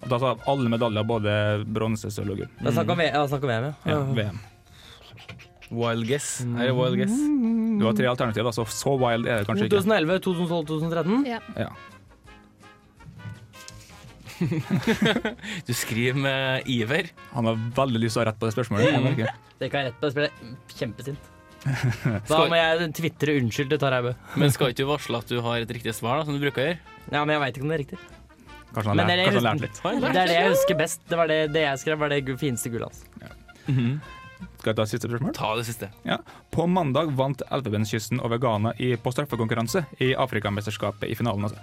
[SPEAKER 5] Og da sa alle medaljer, både bronse, sølv og gull.
[SPEAKER 6] Det er snakk om, V- ja, snakk om VM, ja.
[SPEAKER 5] Ja, VM.
[SPEAKER 4] Mm.
[SPEAKER 10] Wild guess. Er det wild guess?
[SPEAKER 5] Du har tre alternativer, da, så så wild er det kanskje ikke.
[SPEAKER 6] 2011, 2012, 2013.
[SPEAKER 8] Ja.
[SPEAKER 5] Ja.
[SPEAKER 4] Du skriver med iver.
[SPEAKER 5] Han har veldig lyst til å ha rett på det spørsmålet. jeg merker.
[SPEAKER 6] Det kan jeg rett på. Jeg ble kjempesint. Da må jeg tvitre unnskyld til Tarjei Bø.
[SPEAKER 4] Men skal ikke du varsle at du har et riktig svar, da, som du bruker å gjøre?
[SPEAKER 6] Ja, men jeg veit ikke om det er riktig.
[SPEAKER 5] Kanskje han
[SPEAKER 6] Men
[SPEAKER 5] har lært,
[SPEAKER 6] er det-
[SPEAKER 5] kanskje han har lært litt.
[SPEAKER 4] Har jeg
[SPEAKER 6] Det
[SPEAKER 4] lært?
[SPEAKER 6] er det jeg husker best. Det var det, det jeg skrev, var det gu- fineste gullet hans.
[SPEAKER 5] Skal jeg ta siste spørsmål?
[SPEAKER 4] Ta det siste.
[SPEAKER 5] Ja. På mandag vant Elfenbenskysten over Ghana i, på straffekonkurranse i Afrikamesterskapet i finalen. Altså.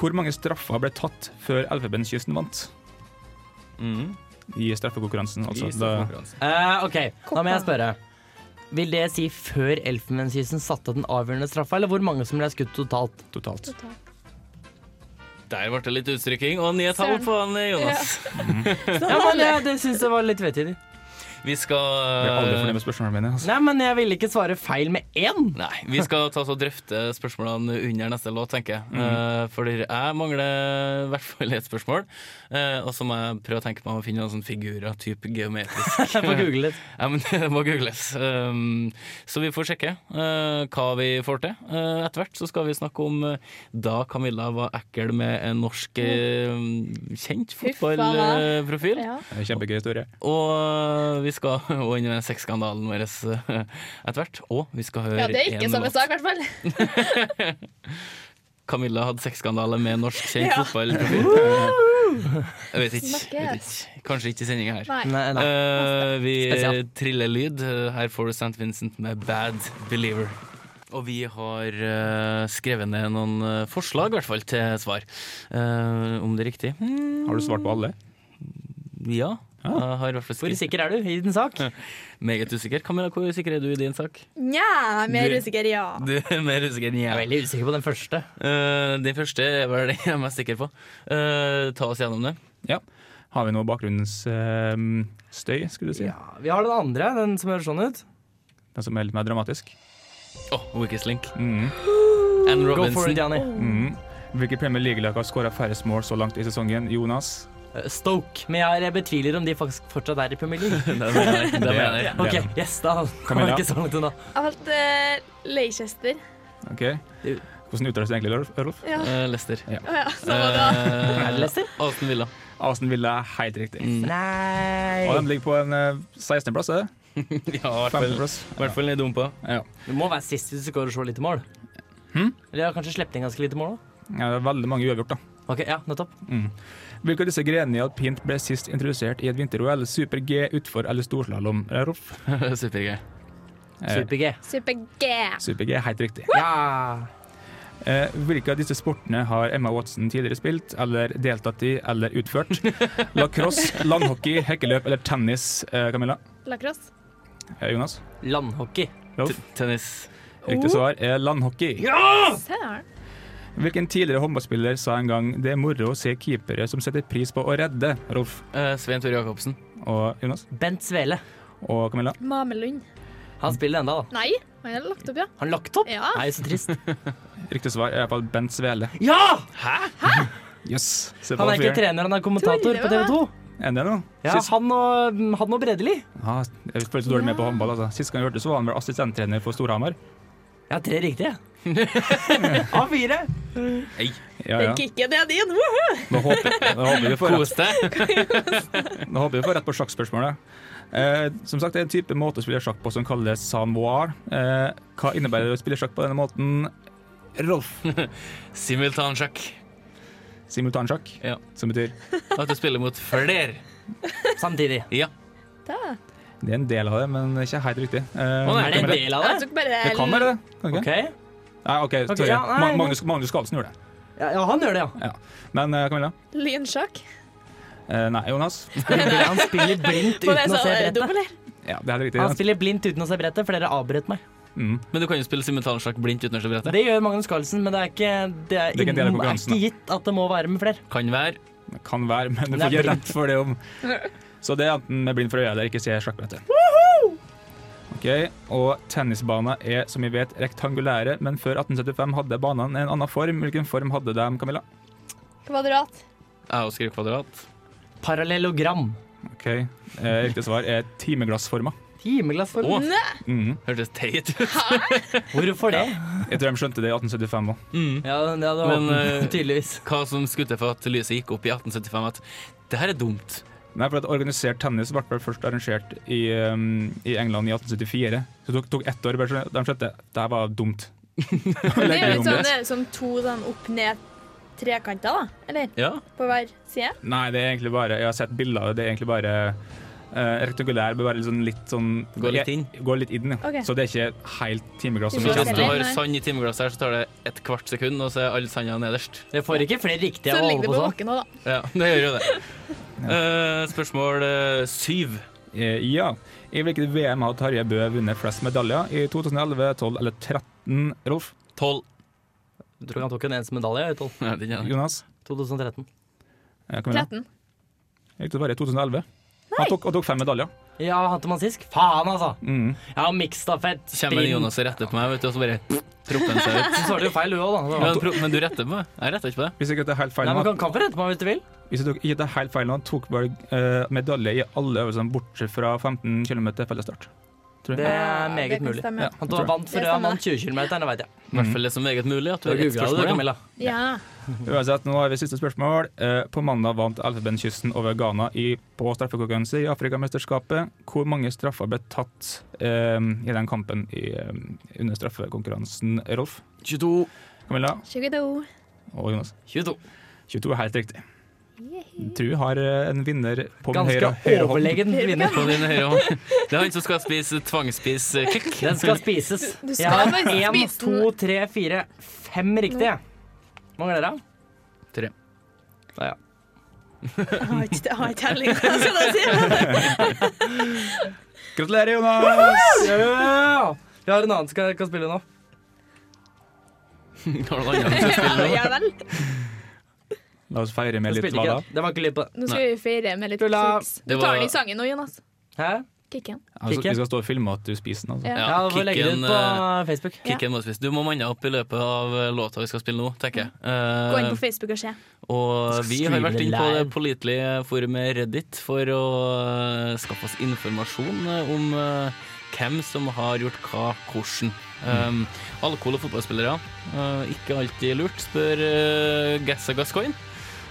[SPEAKER 5] Hvor mange straffer ble tatt før Elfenbenskysten vant
[SPEAKER 10] Mm.
[SPEAKER 5] i straffekonkurransen? Altså,
[SPEAKER 10] I
[SPEAKER 5] da,
[SPEAKER 10] konkurranse.
[SPEAKER 6] Eh, OK, da må jeg
[SPEAKER 8] Koppa.
[SPEAKER 6] spørre. Vil det si før Elfenbenskysten satte den avgjørende straffa, eller hvor mange som ble skutt totalt?
[SPEAKER 5] totalt.
[SPEAKER 4] Der ble det litt utstrykking og nye tall på han, Jonas.
[SPEAKER 6] Ja, men jeg, Det syns jeg var litt vettedig.
[SPEAKER 4] Vi skal
[SPEAKER 5] Jeg er aldri fornøyd med spørsmålene mine. Altså.
[SPEAKER 6] Nei, men jeg ville ikke svare feil med én.
[SPEAKER 4] Nei, vi skal ta oss og drøfte spørsmålene under neste låt, tenker jeg. Eh, for jeg mangler i hvert fall et spørsmål. Eh, og så må jeg prøve å tenke meg å finne noen sånne figurer, type geometrisk. Eh,
[SPEAKER 6] Jeg får google litt.
[SPEAKER 4] ja, men det må googles. Um, så vi får sjekke eh, hva vi får til. Eh, etter hvert så skal vi snakke om eh, da Camilla var ekkel med en norsk eh, kjent
[SPEAKER 8] Huffa meg.
[SPEAKER 4] fotballprofil.
[SPEAKER 8] Ja.
[SPEAKER 5] Det er en Kjempegøy historie.
[SPEAKER 4] Og øh, vi skal og inn i den sexskandalen vår eh, etter hvert. Og vi skal høre
[SPEAKER 8] ja, det er ikke
[SPEAKER 4] en
[SPEAKER 8] samme
[SPEAKER 4] låt.
[SPEAKER 8] sak, i hvert fall.
[SPEAKER 4] Camilla hadde sexskandale med en norsk kjent
[SPEAKER 8] Ja.
[SPEAKER 4] fotballprofil. Jeg vet ikke. Vet ikke. Kanskje ikke i sendinga her.
[SPEAKER 8] Nei.
[SPEAKER 6] Nei, nei.
[SPEAKER 4] Eh, vi
[SPEAKER 6] Spesial.
[SPEAKER 4] triller lyd. Her får du St. Vincent med 'Bad Believer'. Og vi har eh, skrevet ned noen eh, forslag, i hvert fall, til svar. Eh, om det er riktig? Mm,
[SPEAKER 5] Har du svart på alle?
[SPEAKER 4] Ja. Jeg har i hvert fall
[SPEAKER 6] Hvor
[SPEAKER 4] skrevet.
[SPEAKER 6] sikker er du i din sak?
[SPEAKER 4] Meget usikker. Camilla, hvor usikker er du i din sak?
[SPEAKER 8] Nja, jeg er mer
[SPEAKER 4] Du-
[SPEAKER 8] usikker, ja.
[SPEAKER 4] Du er mer usikker enn
[SPEAKER 6] Jeg er
[SPEAKER 4] jeg.
[SPEAKER 6] veldig usikker på den første.
[SPEAKER 4] Uh, den første er vel den jeg er mest sikker på. Eh, ta oss gjennom det.
[SPEAKER 5] Ja. Har vi noe bakgrunnsstøy, skulle du si?
[SPEAKER 6] Ja, vi har den andre, den som høres sånn ut.
[SPEAKER 5] Den som er litt mer dramatisk?
[SPEAKER 4] Å, Weakest Link.
[SPEAKER 5] Mm.
[SPEAKER 4] Anne
[SPEAKER 6] Go for
[SPEAKER 4] Robinson.
[SPEAKER 6] it, Jani.
[SPEAKER 5] Mm. Hvilke Premier League-lag har skåra færrest mål så langt i sesongen? Jonas?
[SPEAKER 6] Eh, Stoke. Men jeg jeg betviler om de faktisk fortsatt er i Premier League.
[SPEAKER 4] Det mener jeg. Det mener jeg.
[SPEAKER 6] OK,
[SPEAKER 5] Det-
[SPEAKER 6] yes, da kommer
[SPEAKER 5] Camilla?
[SPEAKER 6] jeg ikke så langt unna.
[SPEAKER 8] Jeg valgte eh, Leicester.
[SPEAKER 5] Ok. Hvordan uttales det egentlig, Rolf- Rolf?
[SPEAKER 8] Ja.
[SPEAKER 4] Eh, Lester.
[SPEAKER 8] Å ja, så var det.
[SPEAKER 4] Eh,
[SPEAKER 6] Er det Leicester?
[SPEAKER 4] Aston Villa.
[SPEAKER 5] Aston Villa er helt riktig.
[SPEAKER 4] Mm.
[SPEAKER 5] Og
[SPEAKER 6] Nei
[SPEAKER 5] de ligger på en eh, 16.-plass, er det?
[SPEAKER 4] Ja, i hvert fall-
[SPEAKER 5] 15.-plass.
[SPEAKER 4] i hvert fall ned i dumpa.
[SPEAKER 6] Du må være sist hvis du skårer så lite mål. Eller jeg har kanskje sluppet inn ganske lite mål, da.
[SPEAKER 5] Ja, det er veldig mange uavgjort, da. Mm.
[SPEAKER 6] OK, ja, nettopp.
[SPEAKER 5] Hvilke av disse grenene i alpint ble sist introdusert i et vinter-OL? Super-G, utfor eller storslalåm? Rolf?
[SPEAKER 4] Supergøy.
[SPEAKER 5] Eh,
[SPEAKER 6] Super-G.
[SPEAKER 8] Super-G.
[SPEAKER 5] Super-G er helt riktig.
[SPEAKER 6] Ja.
[SPEAKER 5] Eh, hvilke av disse sportene har Emma Watson tidligere spilt, eller deltatt i, eller utført? Lacrosse, langhockey, hekkeløp eller tennis? Eh, Camilla?
[SPEAKER 8] Lacrosse.
[SPEAKER 5] Eh, Jonas?
[SPEAKER 6] Landhockey.
[SPEAKER 5] Rolf?
[SPEAKER 4] T- Tennis.
[SPEAKER 5] Riktig
[SPEAKER 4] Oh.
[SPEAKER 5] svar er landhockey.
[SPEAKER 8] Søren.
[SPEAKER 5] Hvilken tidligere håndballspiller sa en gang det er moro å se keepere som setter pris på å redde? Rolf
[SPEAKER 4] Eh, Svein Tore Jacobsen.
[SPEAKER 5] og Jonas
[SPEAKER 6] Bent Svele.
[SPEAKER 5] og Camilla.
[SPEAKER 8] Mamelund.
[SPEAKER 6] Han spiller enda, da.
[SPEAKER 8] Nei, han er lagt opp, ja.
[SPEAKER 6] Han lagt opp?
[SPEAKER 8] Ja.
[SPEAKER 6] Nei, så trist.
[SPEAKER 5] Riktig svar er iallfall Bent Svele.
[SPEAKER 6] Ja!
[SPEAKER 5] Yes. Se på
[SPEAKER 6] Han er ikke
[SPEAKER 5] fyren.
[SPEAKER 6] trener, han er kommentator på TV 2.
[SPEAKER 5] Er han det nå?
[SPEAKER 6] Ja,
[SPEAKER 5] Sist,
[SPEAKER 6] han og, mm, han og Bredeli.
[SPEAKER 5] ah, jeg føler så dårlig med på håndball. Altså. Sist gang jeg hørte, så var han vel assistenttrener for Storhamar.
[SPEAKER 6] Jeg har tre riktige. Av fire.
[SPEAKER 5] Ja, ja.
[SPEAKER 8] Den kicken er din! Woohoo!
[SPEAKER 5] Nå håper, nå håper vi får rett.
[SPEAKER 4] Kos deg.
[SPEAKER 5] Nå håper vi får rett på sjakkspørsmålet. Eh, som sagt, det er en type måte å spille sjakk på som kalles sanoir. Eh, hva innebærer det å spille sjakk på denne måten? Rolf.
[SPEAKER 4] Simultansjakk.
[SPEAKER 5] Simultansjakk,
[SPEAKER 4] Ja.
[SPEAKER 5] som betyr
[SPEAKER 4] At du spiller mot flere.
[SPEAKER 6] Samtidig.
[SPEAKER 4] Ja.
[SPEAKER 8] Da.
[SPEAKER 5] Det er en del av det, men ikke helt riktig. Eh,
[SPEAKER 4] Å, nei,
[SPEAKER 6] Er det en
[SPEAKER 5] Camilla.
[SPEAKER 6] del av
[SPEAKER 8] Jeg
[SPEAKER 6] det?
[SPEAKER 8] tok bare
[SPEAKER 5] Det kan være det. Kan det
[SPEAKER 6] OK.
[SPEAKER 5] ikke? Nei, ok,
[SPEAKER 6] Ok,
[SPEAKER 5] sorry.
[SPEAKER 6] ja, nei,
[SPEAKER 5] Ma- Magnus, Magnus Carlsen gjorde det.
[SPEAKER 6] Ja, ja, han gjør det, ja.
[SPEAKER 5] Men eh, Camilla?
[SPEAKER 8] lynsjakk.
[SPEAKER 5] Eh, nei, Jonas.
[SPEAKER 6] Han spiller blindt
[SPEAKER 8] På det
[SPEAKER 6] uten å
[SPEAKER 8] så
[SPEAKER 6] se
[SPEAKER 8] er det
[SPEAKER 6] brettet.
[SPEAKER 8] dobbel her.
[SPEAKER 5] Ja, det er helt
[SPEAKER 6] Han
[SPEAKER 5] riktig.
[SPEAKER 6] spiller blindt uten å se brettet, for dere avbrøt meg.
[SPEAKER 5] Mm.
[SPEAKER 4] Men du kan jo spille simultansjakk blindt uten å se brettet.
[SPEAKER 6] Det gjør Magnus Carlsen, men det er ikke, det er
[SPEAKER 5] Det er ikke en del av
[SPEAKER 6] ingen- det er
[SPEAKER 5] konkurransen,
[SPEAKER 6] ikke gitt at det må være med flere.
[SPEAKER 4] Kan være.
[SPEAKER 5] Det kan være, men du
[SPEAKER 6] Nei,
[SPEAKER 5] får ikke
[SPEAKER 6] bra.
[SPEAKER 5] rett for det om Så det er enten med blind for øya eller ikke se sjakkbrettet. Ok, og tennisbaner er som vi vet rektangulære, men før 1875 hadde banene en annen form. Hvilken form hadde de, Camilla?
[SPEAKER 8] Kvadrat.
[SPEAKER 4] Jeg og skriver kvadrat.
[SPEAKER 6] Parallellogram.
[SPEAKER 5] Ok, eh, Riktig svar er timeglassforma.
[SPEAKER 6] Timeglassform.
[SPEAKER 4] Å,
[SPEAKER 8] Nei,
[SPEAKER 5] Mhm.
[SPEAKER 4] hørtes teit ut.
[SPEAKER 6] Hvorfor det?
[SPEAKER 5] Jeg tror de skjønte det i 1875 òg.
[SPEAKER 4] Mm.
[SPEAKER 6] Ja, det hadde
[SPEAKER 4] Men,
[SPEAKER 6] åpnet,
[SPEAKER 4] eh,
[SPEAKER 6] tydeligvis.
[SPEAKER 4] Hva som skulle til for at lyset gikk opp i 1875, at det her er dumt.
[SPEAKER 5] Nei, for at Organisert tennis ble vel først arrangert i, um, i England i 1874. Så det tok, tok ett år. bare så De skjønte det her var dumt.
[SPEAKER 8] det er jo litt
[SPEAKER 5] om
[SPEAKER 8] sånn, det er jo sånn to sånn opp-ned-trekanter, da. Eller
[SPEAKER 4] Ja.
[SPEAKER 8] på hver side.
[SPEAKER 5] Nei, det er egentlig bare Jeg har sett bilder av det. Det er egentlig bare eh, rektangulær. Bør være litt sånn, litt sånn
[SPEAKER 4] Gå litt inn.
[SPEAKER 5] Går litt inn, ja.
[SPEAKER 8] Ok.
[SPEAKER 5] Så det er ikke helt timeglass. Som
[SPEAKER 8] Vi
[SPEAKER 4] Så
[SPEAKER 8] får
[SPEAKER 4] hvis
[SPEAKER 5] ikke
[SPEAKER 8] se.
[SPEAKER 5] er
[SPEAKER 4] du
[SPEAKER 5] sånn-
[SPEAKER 4] har
[SPEAKER 8] Nei.
[SPEAKER 4] sand i timeglasset her, så tar det et kvart sekund, og så er alle sanda nederst.
[SPEAKER 6] Jeg får ikke flere riktige
[SPEAKER 8] Så
[SPEAKER 6] av å
[SPEAKER 8] ligger
[SPEAKER 6] holde
[SPEAKER 8] det
[SPEAKER 6] på
[SPEAKER 8] på
[SPEAKER 6] sånn.
[SPEAKER 8] bakken òg, da.
[SPEAKER 4] Ja, det gjør jo det. Eh, spørsmål eh, syv.
[SPEAKER 5] Eh, ja. I hvilket VM har Tarjei Bø vunnet flest medaljer? I 2011, 12 eller 13? Rolf?
[SPEAKER 4] Tolv.
[SPEAKER 6] Jeg tror han tok en eneste medalje i tolv-
[SPEAKER 4] Ja, den er det.
[SPEAKER 5] Jonas?
[SPEAKER 6] 2013.
[SPEAKER 5] Eh, Camilla?
[SPEAKER 8] 13.
[SPEAKER 5] Riktig svar er 2011. Han tok, og tok fem medaljer.
[SPEAKER 6] Ja, hadde man sist? Faen, altså!
[SPEAKER 5] Mm.
[SPEAKER 6] Ja, miksstafett,
[SPEAKER 4] Kommer en
[SPEAKER 6] sprint
[SPEAKER 4] Jonas og retter på meg, vet du, og så bare propper han seg ut.
[SPEAKER 6] Så svarte du feil, du òg, da.
[SPEAKER 4] Men, pro men du retter på meg. Jeg retter ikke på deg.
[SPEAKER 5] Hvis jeg ikke tar helt feil
[SPEAKER 6] Nei,
[SPEAKER 5] nå,
[SPEAKER 6] men kan, kan få rette meg hvis du vil.
[SPEAKER 5] Hvis jeg tok, ikke tar helt feil nå, tok vel eh, medalje i alle øvelsene bortsett fra 15 km fellesstart.
[SPEAKER 6] Det er meget
[SPEAKER 8] kan
[SPEAKER 6] mulig.
[SPEAKER 8] stemme.
[SPEAKER 6] Han tar vant
[SPEAKER 8] Det
[SPEAKER 6] for
[SPEAKER 8] stemmer.
[SPEAKER 6] han vant 20 km, det veit jeg.
[SPEAKER 4] I hvert fall det som er meget mulig. At
[SPEAKER 6] Du
[SPEAKER 4] du
[SPEAKER 6] har
[SPEAKER 4] har ett
[SPEAKER 6] googla det, du,
[SPEAKER 4] spørsmål.
[SPEAKER 6] Camilla.
[SPEAKER 8] Ja.
[SPEAKER 5] Uansett, nå har vi siste spørsmål. Eh, på mandag vant Elfenbenskysten over Ghana i, på straffekonkurranse i Afrikamesterskapet. Hvor mange straffer ble tatt eh, i den kampen i, eh, under straffekonkurransen, Rolf?
[SPEAKER 4] 22.
[SPEAKER 5] Camilla
[SPEAKER 8] 22.
[SPEAKER 5] og Jonas?
[SPEAKER 6] 22.
[SPEAKER 5] 22 er helt riktig. Tru har eh, en vinner på min høyre,
[SPEAKER 6] Ganske
[SPEAKER 5] høyre hånd.
[SPEAKER 6] overlegen vinner.
[SPEAKER 4] På din høyre hånd. Det er han som skal spise tvangspise kick.
[SPEAKER 6] Den skal spises.
[SPEAKER 8] du
[SPEAKER 6] Jeg
[SPEAKER 8] skal
[SPEAKER 6] har
[SPEAKER 8] bare
[SPEAKER 6] én,
[SPEAKER 8] spise den.
[SPEAKER 6] to, tre, fire, fem riktige. Hvor mange er dere?
[SPEAKER 4] Tre.
[SPEAKER 6] Ja, ja.
[SPEAKER 8] Jeg har ikke jeg har ikke telling, skal jeg si.
[SPEAKER 5] Gratulerer, Jonas!
[SPEAKER 6] Ja! Vi har en annen som skal- kan spille nå.
[SPEAKER 4] Har du noen andre som spiller nå?
[SPEAKER 8] Ja vel.
[SPEAKER 5] La oss feire med
[SPEAKER 6] Jeg
[SPEAKER 5] litt
[SPEAKER 6] spilte ikke.
[SPEAKER 5] hva da?
[SPEAKER 6] Det var ikke lyd på det.
[SPEAKER 8] Nå skal vi feire med litt
[SPEAKER 6] Tulla.
[SPEAKER 8] kiks. Du
[SPEAKER 4] Det var-
[SPEAKER 8] tar den i sangen nå, Jonas.
[SPEAKER 6] Hæ?
[SPEAKER 8] Kicken.
[SPEAKER 5] Altså,
[SPEAKER 6] Kikke.
[SPEAKER 5] vi skal stå og filme at du spiser den. Altså.
[SPEAKER 8] Ja.
[SPEAKER 6] Ja, vi får legge det
[SPEAKER 4] kicken,
[SPEAKER 6] ut
[SPEAKER 4] eh,
[SPEAKER 6] på Facebook.
[SPEAKER 4] kicken må spise. Du må manne opp i løpet av eh, låta vi skal spille nå, tenker jeg.
[SPEAKER 8] Gå inn
[SPEAKER 4] Eh,
[SPEAKER 8] på Facebook og se.
[SPEAKER 4] og vi har vært inne på det
[SPEAKER 6] Streame live.
[SPEAKER 4] pålitelige forumet Reddit for å eh, skaffe oss informasjon eh, om eh, hvem som har gjort hva, hvordan. Um, alkohol og fotballspillere, eh, ikke alltid lurt, spør uh, Gassa Gascoigne.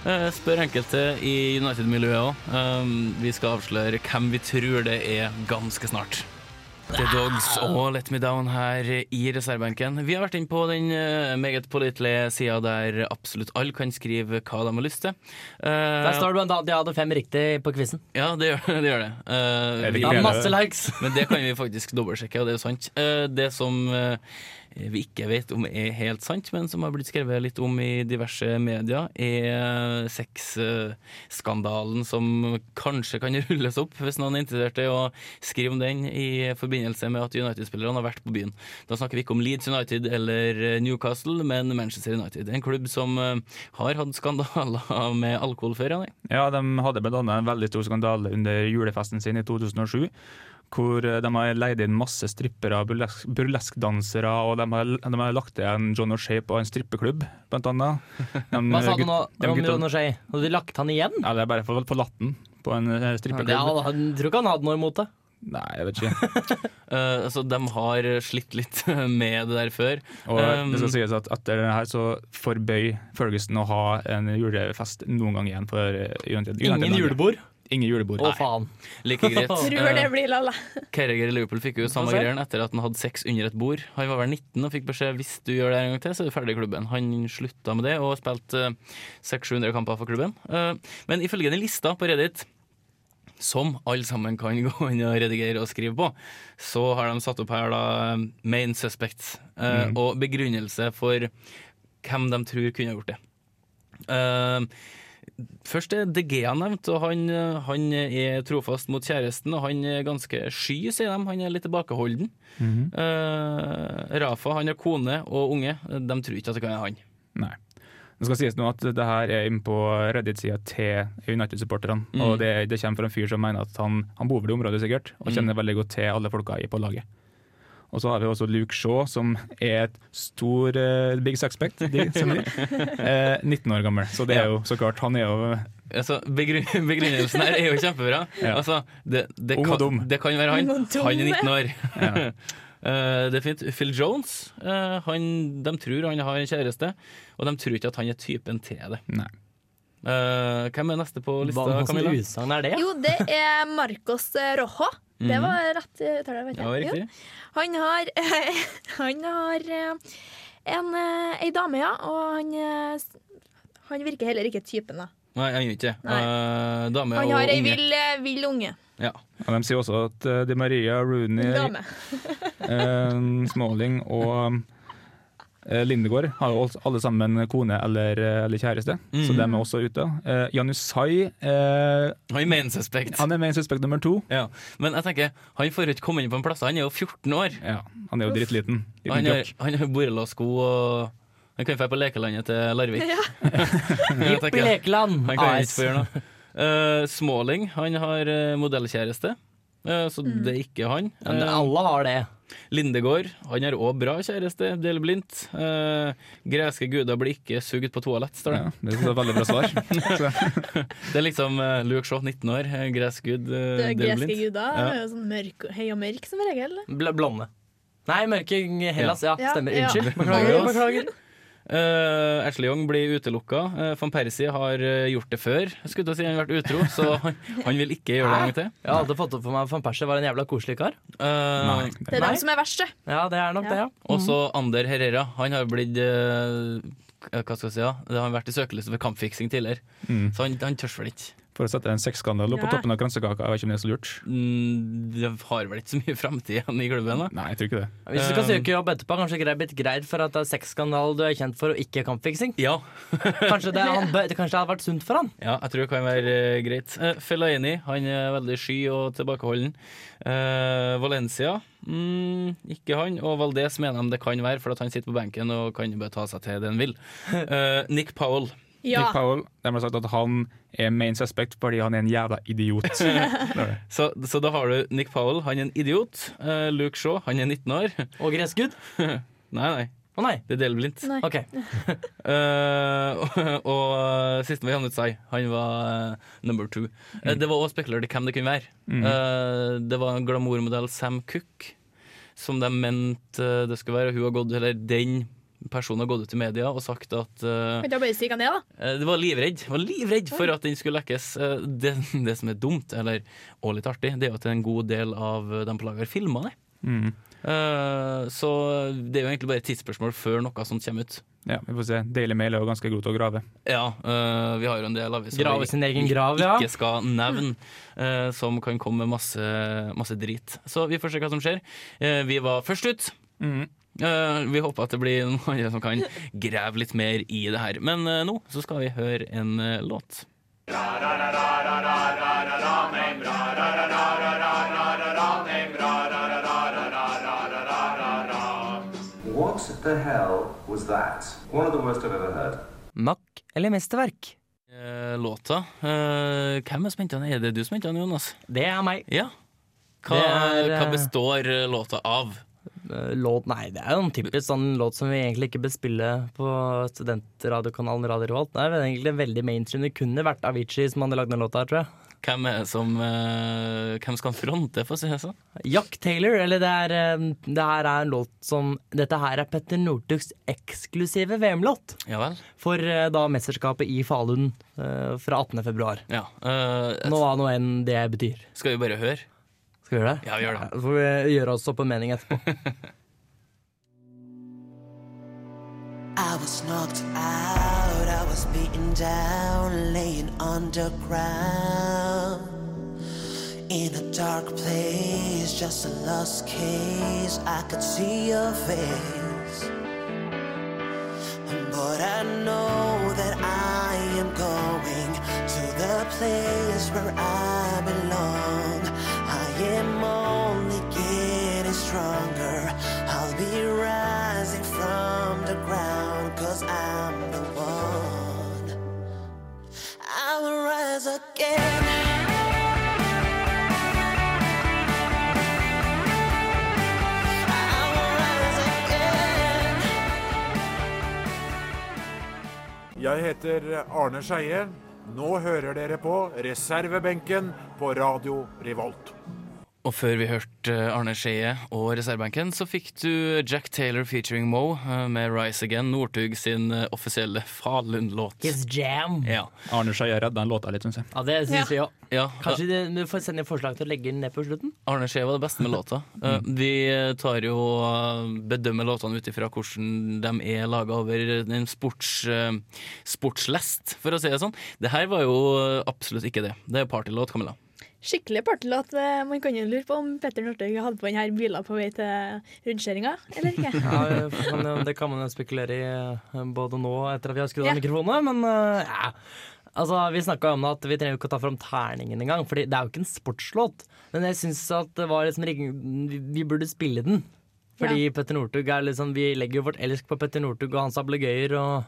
[SPEAKER 4] Eh, spør enkelte i United-miljøet òg. Um, vi skal avsløre hvem vi tror det er, ganske snart. The Dogs og Let Me Down her i reservebenken. Vi har vært inne på den eh, meget pålitelige sida der absolutt alle kan skrive hva de har lyst til. Eh,
[SPEAKER 6] Der står det blant annet at jeg hadde fem riktig på quizen.
[SPEAKER 4] Ja, det gjør det. Gjør det. Eh,
[SPEAKER 5] Er det
[SPEAKER 4] vi-
[SPEAKER 5] ikke
[SPEAKER 6] Ja,
[SPEAKER 5] det?
[SPEAKER 6] masse likes.
[SPEAKER 4] men det kan vi faktisk dobbeltsjekke, og det er jo sant. Eh, Det som eh, vi ikke vet om er helt sant, men som har blitt skrevet litt om i diverse medier, er sexskandalen som kanskje kan rulles opp, hvis noen er interessert i å skrive om den i forbindelse med at United-spillerne har vært på byen. Da snakker vi ikke om Leeds United eller Newcastle, men Manchester United. En klubb som eh, har hatt skandaler med alkohol før, ja, nei.
[SPEAKER 5] Ja, de hadde blant annet en veldig stor skandale under julefesten sin i 2007. Hvor eh, de har leid inn masse strippere, burlesk- burleskdansere, og de har, de har lagt igjen John O'Shay på en strippeklubb, blant annet. De,
[SPEAKER 6] Hva sa du
[SPEAKER 5] gutt-
[SPEAKER 6] nå
[SPEAKER 5] de
[SPEAKER 6] om
[SPEAKER 5] gutta-
[SPEAKER 6] Jon O'Shay? Hadde de lagt han igjen?
[SPEAKER 5] Eller bare for- forlatt den på en eh,
[SPEAKER 6] Ja,
[SPEAKER 5] strippeklubb.
[SPEAKER 6] det hadde, han tror ikke han hadde noe imot det.
[SPEAKER 5] Nei, jeg vet ikke.
[SPEAKER 4] Eh, Så de har slitt litt med det der før.
[SPEAKER 5] Og
[SPEAKER 4] Um,
[SPEAKER 5] det skal sies at etter det her så forbøy Ferguson å ha en julefest noen gang igjen for eh, United.
[SPEAKER 6] Ingen
[SPEAKER 5] United-
[SPEAKER 6] julebord.
[SPEAKER 5] Ingen julebord.
[SPEAKER 6] Å, faen.
[SPEAKER 4] Like greit. Eh,
[SPEAKER 8] Tror det blir lalla.
[SPEAKER 4] Carriger i Liverpool fikk jo samme
[SPEAKER 6] Få se.
[SPEAKER 4] greien etter at han hadde sex under et bord. Han var vel 19 og fikk beskjed hvis du gjør det her en gang til, så er du ferdig i klubben. Han slutta med det og spilte eh, 600-700 kamper for klubben. Eh, Men ifølge den lista på Reddit som alle sammen kan gå inn og redigere og skrive på, så har de satt opp her da eh, main suspects eh,
[SPEAKER 6] Mm.
[SPEAKER 4] og begrunnelse for hvem de tror kunne ha gjort det. Eh, Først er De Gea nevnt, og han, han er trofast mot kjæresten. Og han er ganske sky, sier de. Han er litt tilbakeholden.
[SPEAKER 5] Mhm.
[SPEAKER 4] Eh, Rafa han har kone og unge. De tror ikke at det kan være han.
[SPEAKER 5] Nei. Det skal sies nå at det her er inne på Reddit-sida til United-supporterne. Og det, det kommer fra en fyr som mener at han, han bor vel i området sikkert, og kjenner veldig godt til alle folka i på laget. Og så har vi også Luke Shaw, som er et stor eh, big suspect. De, som de. Eh, 19 år gammel, så det er jo så klart. Han er jo
[SPEAKER 4] Altså, begru- begrunnelsen her er jo kjempebra.
[SPEAKER 5] Ja.
[SPEAKER 4] Altså, det, det,
[SPEAKER 5] Ung og
[SPEAKER 4] kan,
[SPEAKER 5] dum.
[SPEAKER 4] det kan være han.
[SPEAKER 8] Ung og dum.
[SPEAKER 4] Han er 19 år. Eh, det er fint. Phil Jones, eh, han, de tror han har en kjæreste, og de tror ikke at han er typen til det.
[SPEAKER 5] Nei.
[SPEAKER 4] Eh, hvem er neste på lista,
[SPEAKER 6] Hva slags
[SPEAKER 4] Camilla?
[SPEAKER 6] utsagn er det?
[SPEAKER 8] Jo, det er Marcos eh, Rojo. Det var rett eh, uttale, vet jeg.
[SPEAKER 4] Ja, riktig.
[SPEAKER 8] Han har, han har eh, en, eh, ei dame, ja, og han, eh, s- han virker heller ikke typen. da.
[SPEAKER 4] Nei, han gjør ikke det. Eh, dame
[SPEAKER 8] Han
[SPEAKER 4] og
[SPEAKER 8] har ei
[SPEAKER 4] unge.
[SPEAKER 8] vill, eh, vill unge
[SPEAKER 4] Ja.
[SPEAKER 5] Og de sier også at eh, Di Maria, Rooney,
[SPEAKER 8] dame.
[SPEAKER 5] eh, Smalling og eh, Lindegård har jo også alle sammen kone eller, eh, eller kjæreste, så de er også ute. Eh, Janusai eh,
[SPEAKER 4] Han er main suspect.
[SPEAKER 5] han er main suspect nummer to.
[SPEAKER 4] Ja. Men jeg tenker, han får jo ikke komme inn på en plass, han er jo 14 år.
[SPEAKER 5] Ja, han er jo drittliten.
[SPEAKER 4] Og Han
[SPEAKER 5] Liten
[SPEAKER 4] har,
[SPEAKER 5] kjokk.
[SPEAKER 4] han har borrelåssko og Han kan dra på lekelandet til Larvik. Jeg tenker,
[SPEAKER 6] Jippi Lekeland!
[SPEAKER 4] han kan ikke få gjøre noe. Eh, Smalling han har eh, modellkjæreste, eh, så
[SPEAKER 8] Mm.
[SPEAKER 4] det er ikke han.
[SPEAKER 6] Ja, men
[SPEAKER 4] Eh,
[SPEAKER 6] alle har det.
[SPEAKER 4] Lindegård han har òg bra kjæreste, deler blindt. Eh, greske guder blir ikke sugd på toalett, står det.
[SPEAKER 5] Ja, det er et veldig bra svar. Så,
[SPEAKER 4] Det er liksom uh, Luke Shaw, 19 år, eh, gresk gud, eh,
[SPEAKER 8] Det er
[SPEAKER 4] deler
[SPEAKER 8] greske
[SPEAKER 4] blindt.
[SPEAKER 8] guder
[SPEAKER 4] Ja.
[SPEAKER 8] er jo sånn mørk, høy og mørk som regel.
[SPEAKER 6] Bl blonde. Nei, mørke Hellas. Ja,
[SPEAKER 8] Ja,
[SPEAKER 6] stemmer.
[SPEAKER 8] ja.
[SPEAKER 6] Unnskyld.
[SPEAKER 4] Ja.
[SPEAKER 6] Beklager. beklager.
[SPEAKER 4] Eh, Ashley Young blir utelukka. Eh, Van Persie har eh, gjort det før, skulle til å si. Han har vært utro, så han, han vil ikke gjøre det en gang til.
[SPEAKER 6] Jeg hadde fått opp for meg at van Persie var en jævla koselig kar.
[SPEAKER 4] Eh,
[SPEAKER 8] Det er
[SPEAKER 6] Nei.
[SPEAKER 8] dem som er verst, det.
[SPEAKER 6] Ja, det er nok
[SPEAKER 8] Ja.
[SPEAKER 6] det, ja.
[SPEAKER 4] Og så Ander Herrera. Han har blitt eh, Hva skal jeg si? Ja? Det har vært i søkelyset for kampfiksing tidligere.
[SPEAKER 5] Mm.
[SPEAKER 4] Så han, han tør vel ikke.
[SPEAKER 5] For å sette en sexskandale på
[SPEAKER 8] Ja.
[SPEAKER 5] toppen av kransekaka, jeg vet ikke om det er så lurt.
[SPEAKER 4] Mm, Det har vel ikke så mye framtid igjen i klubben. Da.
[SPEAKER 5] Nei, jeg tror ikke det.
[SPEAKER 6] Hvis du skal søke jobb etterpå, kanskje grei blitt greid for at det er sexskandale du er kjent for, og ikke kampfiksing.
[SPEAKER 4] Ja,
[SPEAKER 6] Kanskje det, han, bø- kanskje det hadde vært sunt for han.
[SPEAKER 4] ja, jeg tror det kan være eh, greit. Uh, Fellaini han er veldig sky og tilbakeholden. Eh, Valencia mm, ikke han. Og Valdez mener de det kan være, for at han sitter på benken og kan bare ta seg til det han vil. Eh, Nick Powell.
[SPEAKER 8] Ja.
[SPEAKER 5] Nick Powell de har sagt at han er main suspect fordi han er en jævla idiot.
[SPEAKER 4] Så, så da har du Nick Powell, han er en idiot. Eh, Luke Shaw, han er 19 år.
[SPEAKER 6] Og gresskudd.
[SPEAKER 4] Nei, nei,
[SPEAKER 6] Å nei.
[SPEAKER 4] det er delblindt.
[SPEAKER 8] Nei.
[SPEAKER 6] Ok.
[SPEAKER 4] Eh, og og siste var Jan Utsai. Han var eh, number two. Eh, det var også spekulert i hvem det kunne være. Eh, det var en glamourmodell Sam Cook som de mente eh, det skulle være. Hun har gått, eller den personen har gått ut i media og sagt at eh,
[SPEAKER 8] Kan ikke jeg bare stikke ned, da?
[SPEAKER 4] eh, Det var livredd var livredd for at den skulle lekkes. Eh, det, det som er dumt, eller og litt artig, det er jo at en god del av de på laget har filma det.
[SPEAKER 5] Mm.
[SPEAKER 4] Eh, så det er jo egentlig bare et tidsspørsmål før noe sånt kommer ut.
[SPEAKER 5] Ja, vi får se. Daily Mail er jo ganske god til å grave.
[SPEAKER 4] Ja, øh, vi har jo en del aviser
[SPEAKER 6] Grave
[SPEAKER 4] vi
[SPEAKER 6] sin egen grav, ja.
[SPEAKER 4] ikke skal nevne, øh, som kan komme med masse, masse drit. Så vi får se hva som skjer. Eh, vi var først ut.
[SPEAKER 6] Mm.
[SPEAKER 4] Eh, vi håper at det blir noen andre som kan grave litt mer i det her. Men eh, nå så skal vi høre en eh, låt.
[SPEAKER 11] What the hell was that? One of the worst I've ever heard.
[SPEAKER 6] Mack eller mesterverk?
[SPEAKER 4] Eh, låta eh, Hvem er som hentet den? Er det du som hentet den, Jonas?
[SPEAKER 6] Det er meg.
[SPEAKER 4] Ja. Hva,
[SPEAKER 6] Det er, eh,
[SPEAKER 4] hva består eh, låta av?
[SPEAKER 6] Eh, Låt, nei, det er jo en typisk sånn låt som vi egentlig ikke bør spille på studentradiokanalen Radio Revolt. Det er vel egentlig veldig mainstream. Det kunne vært Avicii som hadde lagd den låta, her, tror jeg.
[SPEAKER 4] Hvem er det som eh, Hvem skal fronte, for å si det sånn?
[SPEAKER 6] Jack Taylor, eller det er, eh, det her er en låt som Dette her er Petter Northugs eksklusive VM-låt
[SPEAKER 4] Ja vel?
[SPEAKER 6] for eh, da mesterskapet i Falun eh, fra 18. februar.
[SPEAKER 4] Ja. eh,
[SPEAKER 6] Nå hva nå enn det betyr.
[SPEAKER 4] Skal vi bare høre?
[SPEAKER 6] Skal vi gjøre det?
[SPEAKER 4] Ja, vi gjør det.
[SPEAKER 6] Så får vi gjøre oss opp en mening etterpå.
[SPEAKER 2] I was knocked out, I was beaten down, laying underground. In a dark place, just a lost case, I could see your face. But I know that I am going to the place where I belong. I am only getting stronger. I'll be rising from the ground, cause I'm the one.
[SPEAKER 12] Jeg heter Arne Skeie. Nå hører dere på reservebenken på Radio Revolt.
[SPEAKER 4] Og før vi hørte eh, Arne Skeie og reservebenken, så fikk du eh, Jack Taylor featuring Mo eh, med Rise Again, Northug sin eh, offisielle Falun-låt.
[SPEAKER 6] His jam.
[SPEAKER 4] Ja.
[SPEAKER 5] Arne Skeie redda den låta litt, syns jeg.
[SPEAKER 6] Ja, det syns vi òg.
[SPEAKER 4] Ja, eh,
[SPEAKER 6] Kanskje de, du får sende forslag til å legge den ned på slutten?
[SPEAKER 4] Arne Skei var det beste med låta. Eh, Vi tar jo og bedømmer låtene ut ifra hvordan de er laga over en sports, eh, sportslest, for å si det sånn. Det her var jo eh, absolutt ikke det. Det er partylåt, Camilla.
[SPEAKER 8] Skikkelig partylåt. Eh, Man kan jo lure på om Petter Northug hadde på denne bilen på vei til rundkjøringa, eller ikke.
[SPEAKER 6] Ja, men eh, det kan man jo spekulere i eh, både nå og etter at vi har skrudd av
[SPEAKER 8] Ja.
[SPEAKER 6] mikrofonene, men eh, ja. Altså, Vi snakka om at vi trenger jo ikke å ta fram terningen engang, Fordi det er jo ikke en sportslåt. Men jeg syns at det var liksom ring- vi- Vi burde spille den. Fordi Petter Northug er liksom Vi legger jo vårt elsk på Petter Northug og hans ablegøyer og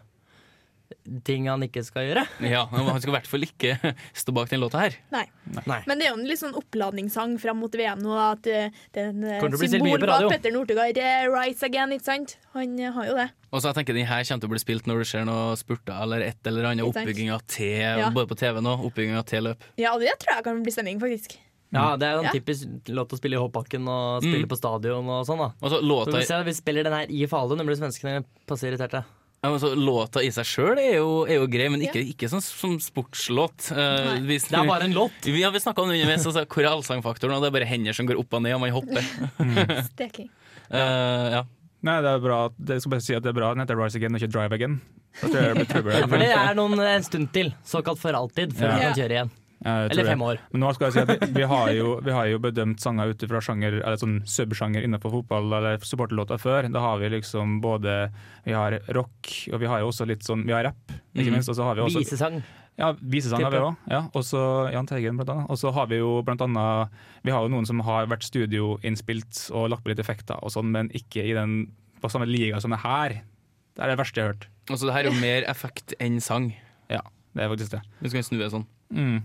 [SPEAKER 6] ting han ikke skal gjøre.
[SPEAKER 4] Ja, Han skal i hvert fall ikke stå bak den låta her.
[SPEAKER 8] Nei.
[SPEAKER 6] Nei.
[SPEAKER 8] Men det er jo en litt sånn oppladningssang fram mot VM nå. At eh, det er en eh,
[SPEAKER 4] Kommer til å bli stilt mye
[SPEAKER 8] symbol
[SPEAKER 4] på
[SPEAKER 8] på
[SPEAKER 4] radio.
[SPEAKER 8] at Petter Northug har eh, rise again, ikke sant? Han eh, har jo det.
[SPEAKER 4] Og så jeg tenker Den her kommer til å bli spilt når det skjer noe spurter eller et eller annet.
[SPEAKER 8] Ikke sant?
[SPEAKER 4] Oppbygginga til
[SPEAKER 8] Ja.
[SPEAKER 4] både på TV nå, oppbygginga til løp.
[SPEAKER 8] Ja, og det tror jeg kan bli stemning, faktisk.
[SPEAKER 6] Ja, det er jo en
[SPEAKER 8] Ja.
[SPEAKER 6] typisk låt å spille i hoppbakken og spille
[SPEAKER 4] Mm.
[SPEAKER 6] på stadion og sånn, da.
[SPEAKER 4] Altså, låta-
[SPEAKER 6] Så vi, ser, at vi spiller den her i Falun, det blir svenskene passe irriterte.
[SPEAKER 4] Ja, men så Låta i seg sjøl er, jo- er jo grei, men ikke, ikke sånn som sportslåt. Eh, vi-
[SPEAKER 6] Det er bare en låt.
[SPEAKER 4] Vi, ja, vi snakka om det underveis, altså, hvor er allsangfaktoren? Og det er bare hender som går opp og ned, og man hopper.
[SPEAKER 8] Steking.
[SPEAKER 4] Eh, ja.
[SPEAKER 5] Nei, det er bra at- Jeg skal bare si at det er bra at den heter Rise Again og ikke Drive Again. Da tror jeg det blir trøbbel.
[SPEAKER 6] Ja, for det er noen, en stund til, såkalt for alltid, før
[SPEAKER 5] Ja.
[SPEAKER 6] vi kan kjøre igjen.
[SPEAKER 5] Ja, jeg tror
[SPEAKER 6] Eller
[SPEAKER 5] det.
[SPEAKER 6] fem år.
[SPEAKER 5] Men nå skal jeg si at vi har jo, vi har jo bedømt sanger ut fra sjanger, eller sånn subsjanger innenfor fotball eller supporterlåter før. Da har vi liksom både Vi har rock, og vi har jo også litt sånn Vi har rapp, ikke
[SPEAKER 6] Mhm.
[SPEAKER 5] minst. Og så har vi også
[SPEAKER 6] Visesang.
[SPEAKER 5] Ja, visesang har vi
[SPEAKER 6] Type.
[SPEAKER 5] òg. Ja, og så Jahn Teigen, blant annet. Og så har vi jo blant annet Vi har jo noen som har vært studioinnspilt og lagt på litt effekter og sånn, men ikke i den på samme liga som det her. Det er det verste jeg har hørt.
[SPEAKER 4] Altså, det her er jo mer effekt enn sang.
[SPEAKER 5] Ja, det er faktisk det.
[SPEAKER 4] Hvis du kan snu det sånn.
[SPEAKER 5] Mm.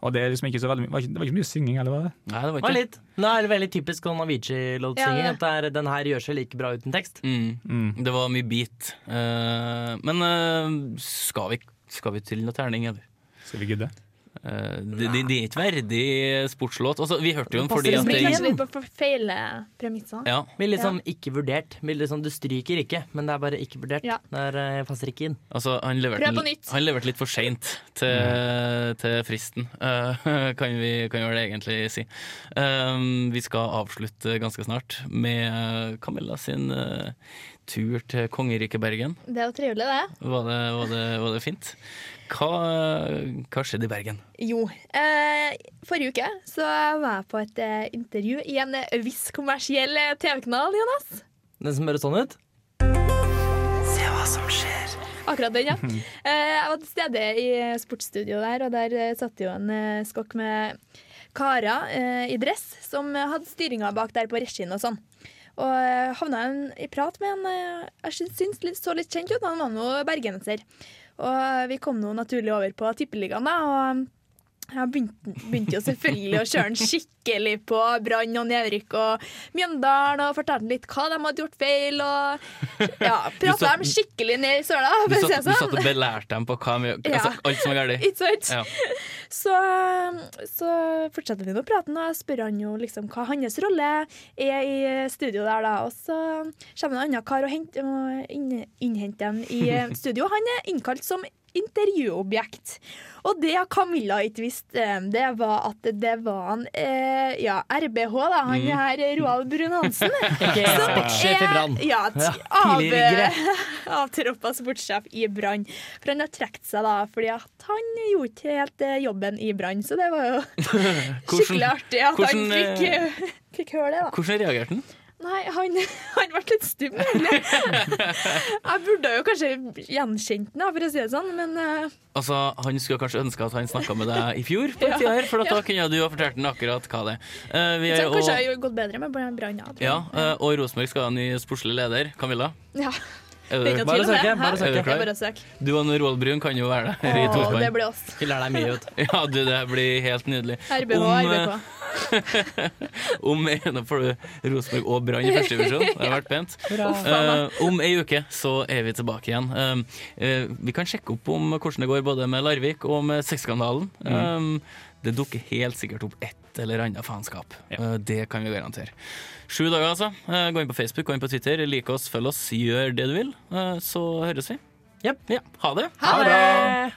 [SPEAKER 5] Og det er liksom ikke så veldig mye var ikke- Det var ikke så mye synging, eller hva? det?
[SPEAKER 4] Nei, det var
[SPEAKER 6] Og
[SPEAKER 4] ikke
[SPEAKER 6] litt. Nå er det veldig typisk sånn Avicii-låtsinging.
[SPEAKER 4] Ja, det.
[SPEAKER 6] At det er, den her gjør seg like bra uten tekst.
[SPEAKER 4] Mm. Det var mye beat. Eh, men eh, skal, vi, skal vi til noe terning, eller?
[SPEAKER 5] Skal vi gidde?
[SPEAKER 4] det Eh, de, de er ikke verdig sportslåt. Altså, vi hørte jo den fordi
[SPEAKER 8] Passer
[SPEAKER 4] at
[SPEAKER 8] det
[SPEAKER 4] det,
[SPEAKER 8] kanskje litt på feil premisser.
[SPEAKER 4] Ja.
[SPEAKER 6] Blir liksom ikke vurdert. Blir liksom, du stryker ikke, men det er bare ikke vurdert. Det er, eh, passer ikke inn.
[SPEAKER 4] Altså, han leverte,
[SPEAKER 6] Prøv på
[SPEAKER 4] den-
[SPEAKER 6] nytt.
[SPEAKER 4] han leverte litt for seint til, til fristen, Eh, kan vi kan vi vel egentlig si. Um, vi skal avslutte ganske snart med Camilla sin eh, tur til kongeriket Bergen.
[SPEAKER 8] Det er jo trivelig, det.
[SPEAKER 4] Var det, var det, var det fint? Hva, hva skjedde i Bergen?
[SPEAKER 8] Jo. Eh, forrige uke så var jeg på et eh, intervju i en eh, viss kommersiell eh, TV-kanal, Jonas.
[SPEAKER 6] Den som høres sånn ut.
[SPEAKER 8] Se hva som skjer. Akkurat den, ja. Eh, jeg var til stede i eh, sportsstudio der, og der eh, satt jo en eh, skokk med karer eh, i dress som eh, hadde styringa bak der på regien og sånn. Og eh, havna en, i prat med en eh, jeg syns- syns litt, så litt kjent ut, han var nå bergenser. Og eh, vi kom nå naturlig over på Tippeligaen, da. og eh, jeg begynte, begynte jo selvfølgelig å kjøre den skikkelig på Brann og nedrykk og Mjøndalen, og fortalte litt hva de hadde gjort feil, og ja,
[SPEAKER 4] Du
[SPEAKER 8] prata
[SPEAKER 4] satt-
[SPEAKER 8] dem skikkelig ned i søla.
[SPEAKER 4] Du
[SPEAKER 8] for å si
[SPEAKER 4] satt,
[SPEAKER 8] det
[SPEAKER 4] du satt og
[SPEAKER 8] sånn.
[SPEAKER 4] belærte dem på hva vi,
[SPEAKER 8] Ja.
[SPEAKER 4] altså, alt som er galt.
[SPEAKER 8] Ikke sant?
[SPEAKER 4] Ja.
[SPEAKER 8] Så, så fortsetter vi nå praten, og jeg spør han jo liksom hva hans rolle er i studio der, da. Og så kommer det en annen kar og hent- og inn- innhenter en i studio. Han er innkalt som intervjuobjekt. Og det Camilla ikke visste, eh, det var at det var han eh, ja, RBH, da. Han
[SPEAKER 6] Mm.
[SPEAKER 8] her eh, Roald Brun-Hansen.
[SPEAKER 6] Ikke sportssjef i Brann.
[SPEAKER 8] Ja, t-
[SPEAKER 6] Ja,
[SPEAKER 8] av,
[SPEAKER 6] tidligere.
[SPEAKER 8] avtroppa sportssjef i Brann. For han har trukket seg da fordi at han gjorde ikke helt eh, jobben i Brann, så det var jo skikkelig artig at
[SPEAKER 4] hvordan,
[SPEAKER 8] han fikk,
[SPEAKER 4] eh,
[SPEAKER 8] eh, fikk høre det, da.
[SPEAKER 4] Hvordan reagerte han?
[SPEAKER 8] Nei, han, han ble litt stum, egentlig. Jeg burde jo kanskje gjenkjent den, da, for å si det sånn, men eh,
[SPEAKER 4] Altså, Han skulle kanskje ønske at han snakka med deg i fjor, på
[SPEAKER 8] Ja,
[SPEAKER 4] tida her, for at da
[SPEAKER 8] ja.
[SPEAKER 4] kunne du ha fortalt han akkurat hva det er. Eh, vi
[SPEAKER 8] jeg
[SPEAKER 4] er
[SPEAKER 8] tror kanskje jeg
[SPEAKER 4] og,
[SPEAKER 8] har gått bedre med Brann. ja, tror jeg.
[SPEAKER 4] ja, eh, og Rosenborg skal ha en ny sportslig leder. Camilla,
[SPEAKER 8] Ja.
[SPEAKER 4] er
[SPEAKER 8] Det er
[SPEAKER 4] du,
[SPEAKER 8] ikke noe tvil om det. Hæ?
[SPEAKER 4] Er
[SPEAKER 8] Det
[SPEAKER 4] du
[SPEAKER 8] er
[SPEAKER 4] klar?
[SPEAKER 8] bare å søke.
[SPEAKER 4] Du og Roald Brun kan jo være der i
[SPEAKER 8] Åh,
[SPEAKER 4] tospann.
[SPEAKER 8] det blir oss.
[SPEAKER 6] Skiller deg mye ut.
[SPEAKER 4] Ja, du, det blir helt nydelig.
[SPEAKER 8] RBH,
[SPEAKER 4] Om, eh,
[SPEAKER 8] RBK.
[SPEAKER 4] Om ei Nå får du Rosenborg og Brann i første divisjon. Det hadde vært pent.
[SPEAKER 13] Bra.
[SPEAKER 4] Eh, om ei uke så er vi tilbake igjen. Eh, eh, vi kan sjekke opp om hvordan det går både med Larvik og med sexskandalen.
[SPEAKER 10] Mm.
[SPEAKER 4] Eh, det dukker helt sikkert opp et eller annet faenskap. Eh, det kan vi garantere. Sju dager, altså. Eh, gå inn på Facebook, gå inn på Twitter. Like oss, følg oss, gjør det du vil. Eh, så høres vi. Ja. Ha det.
[SPEAKER 13] Ha det!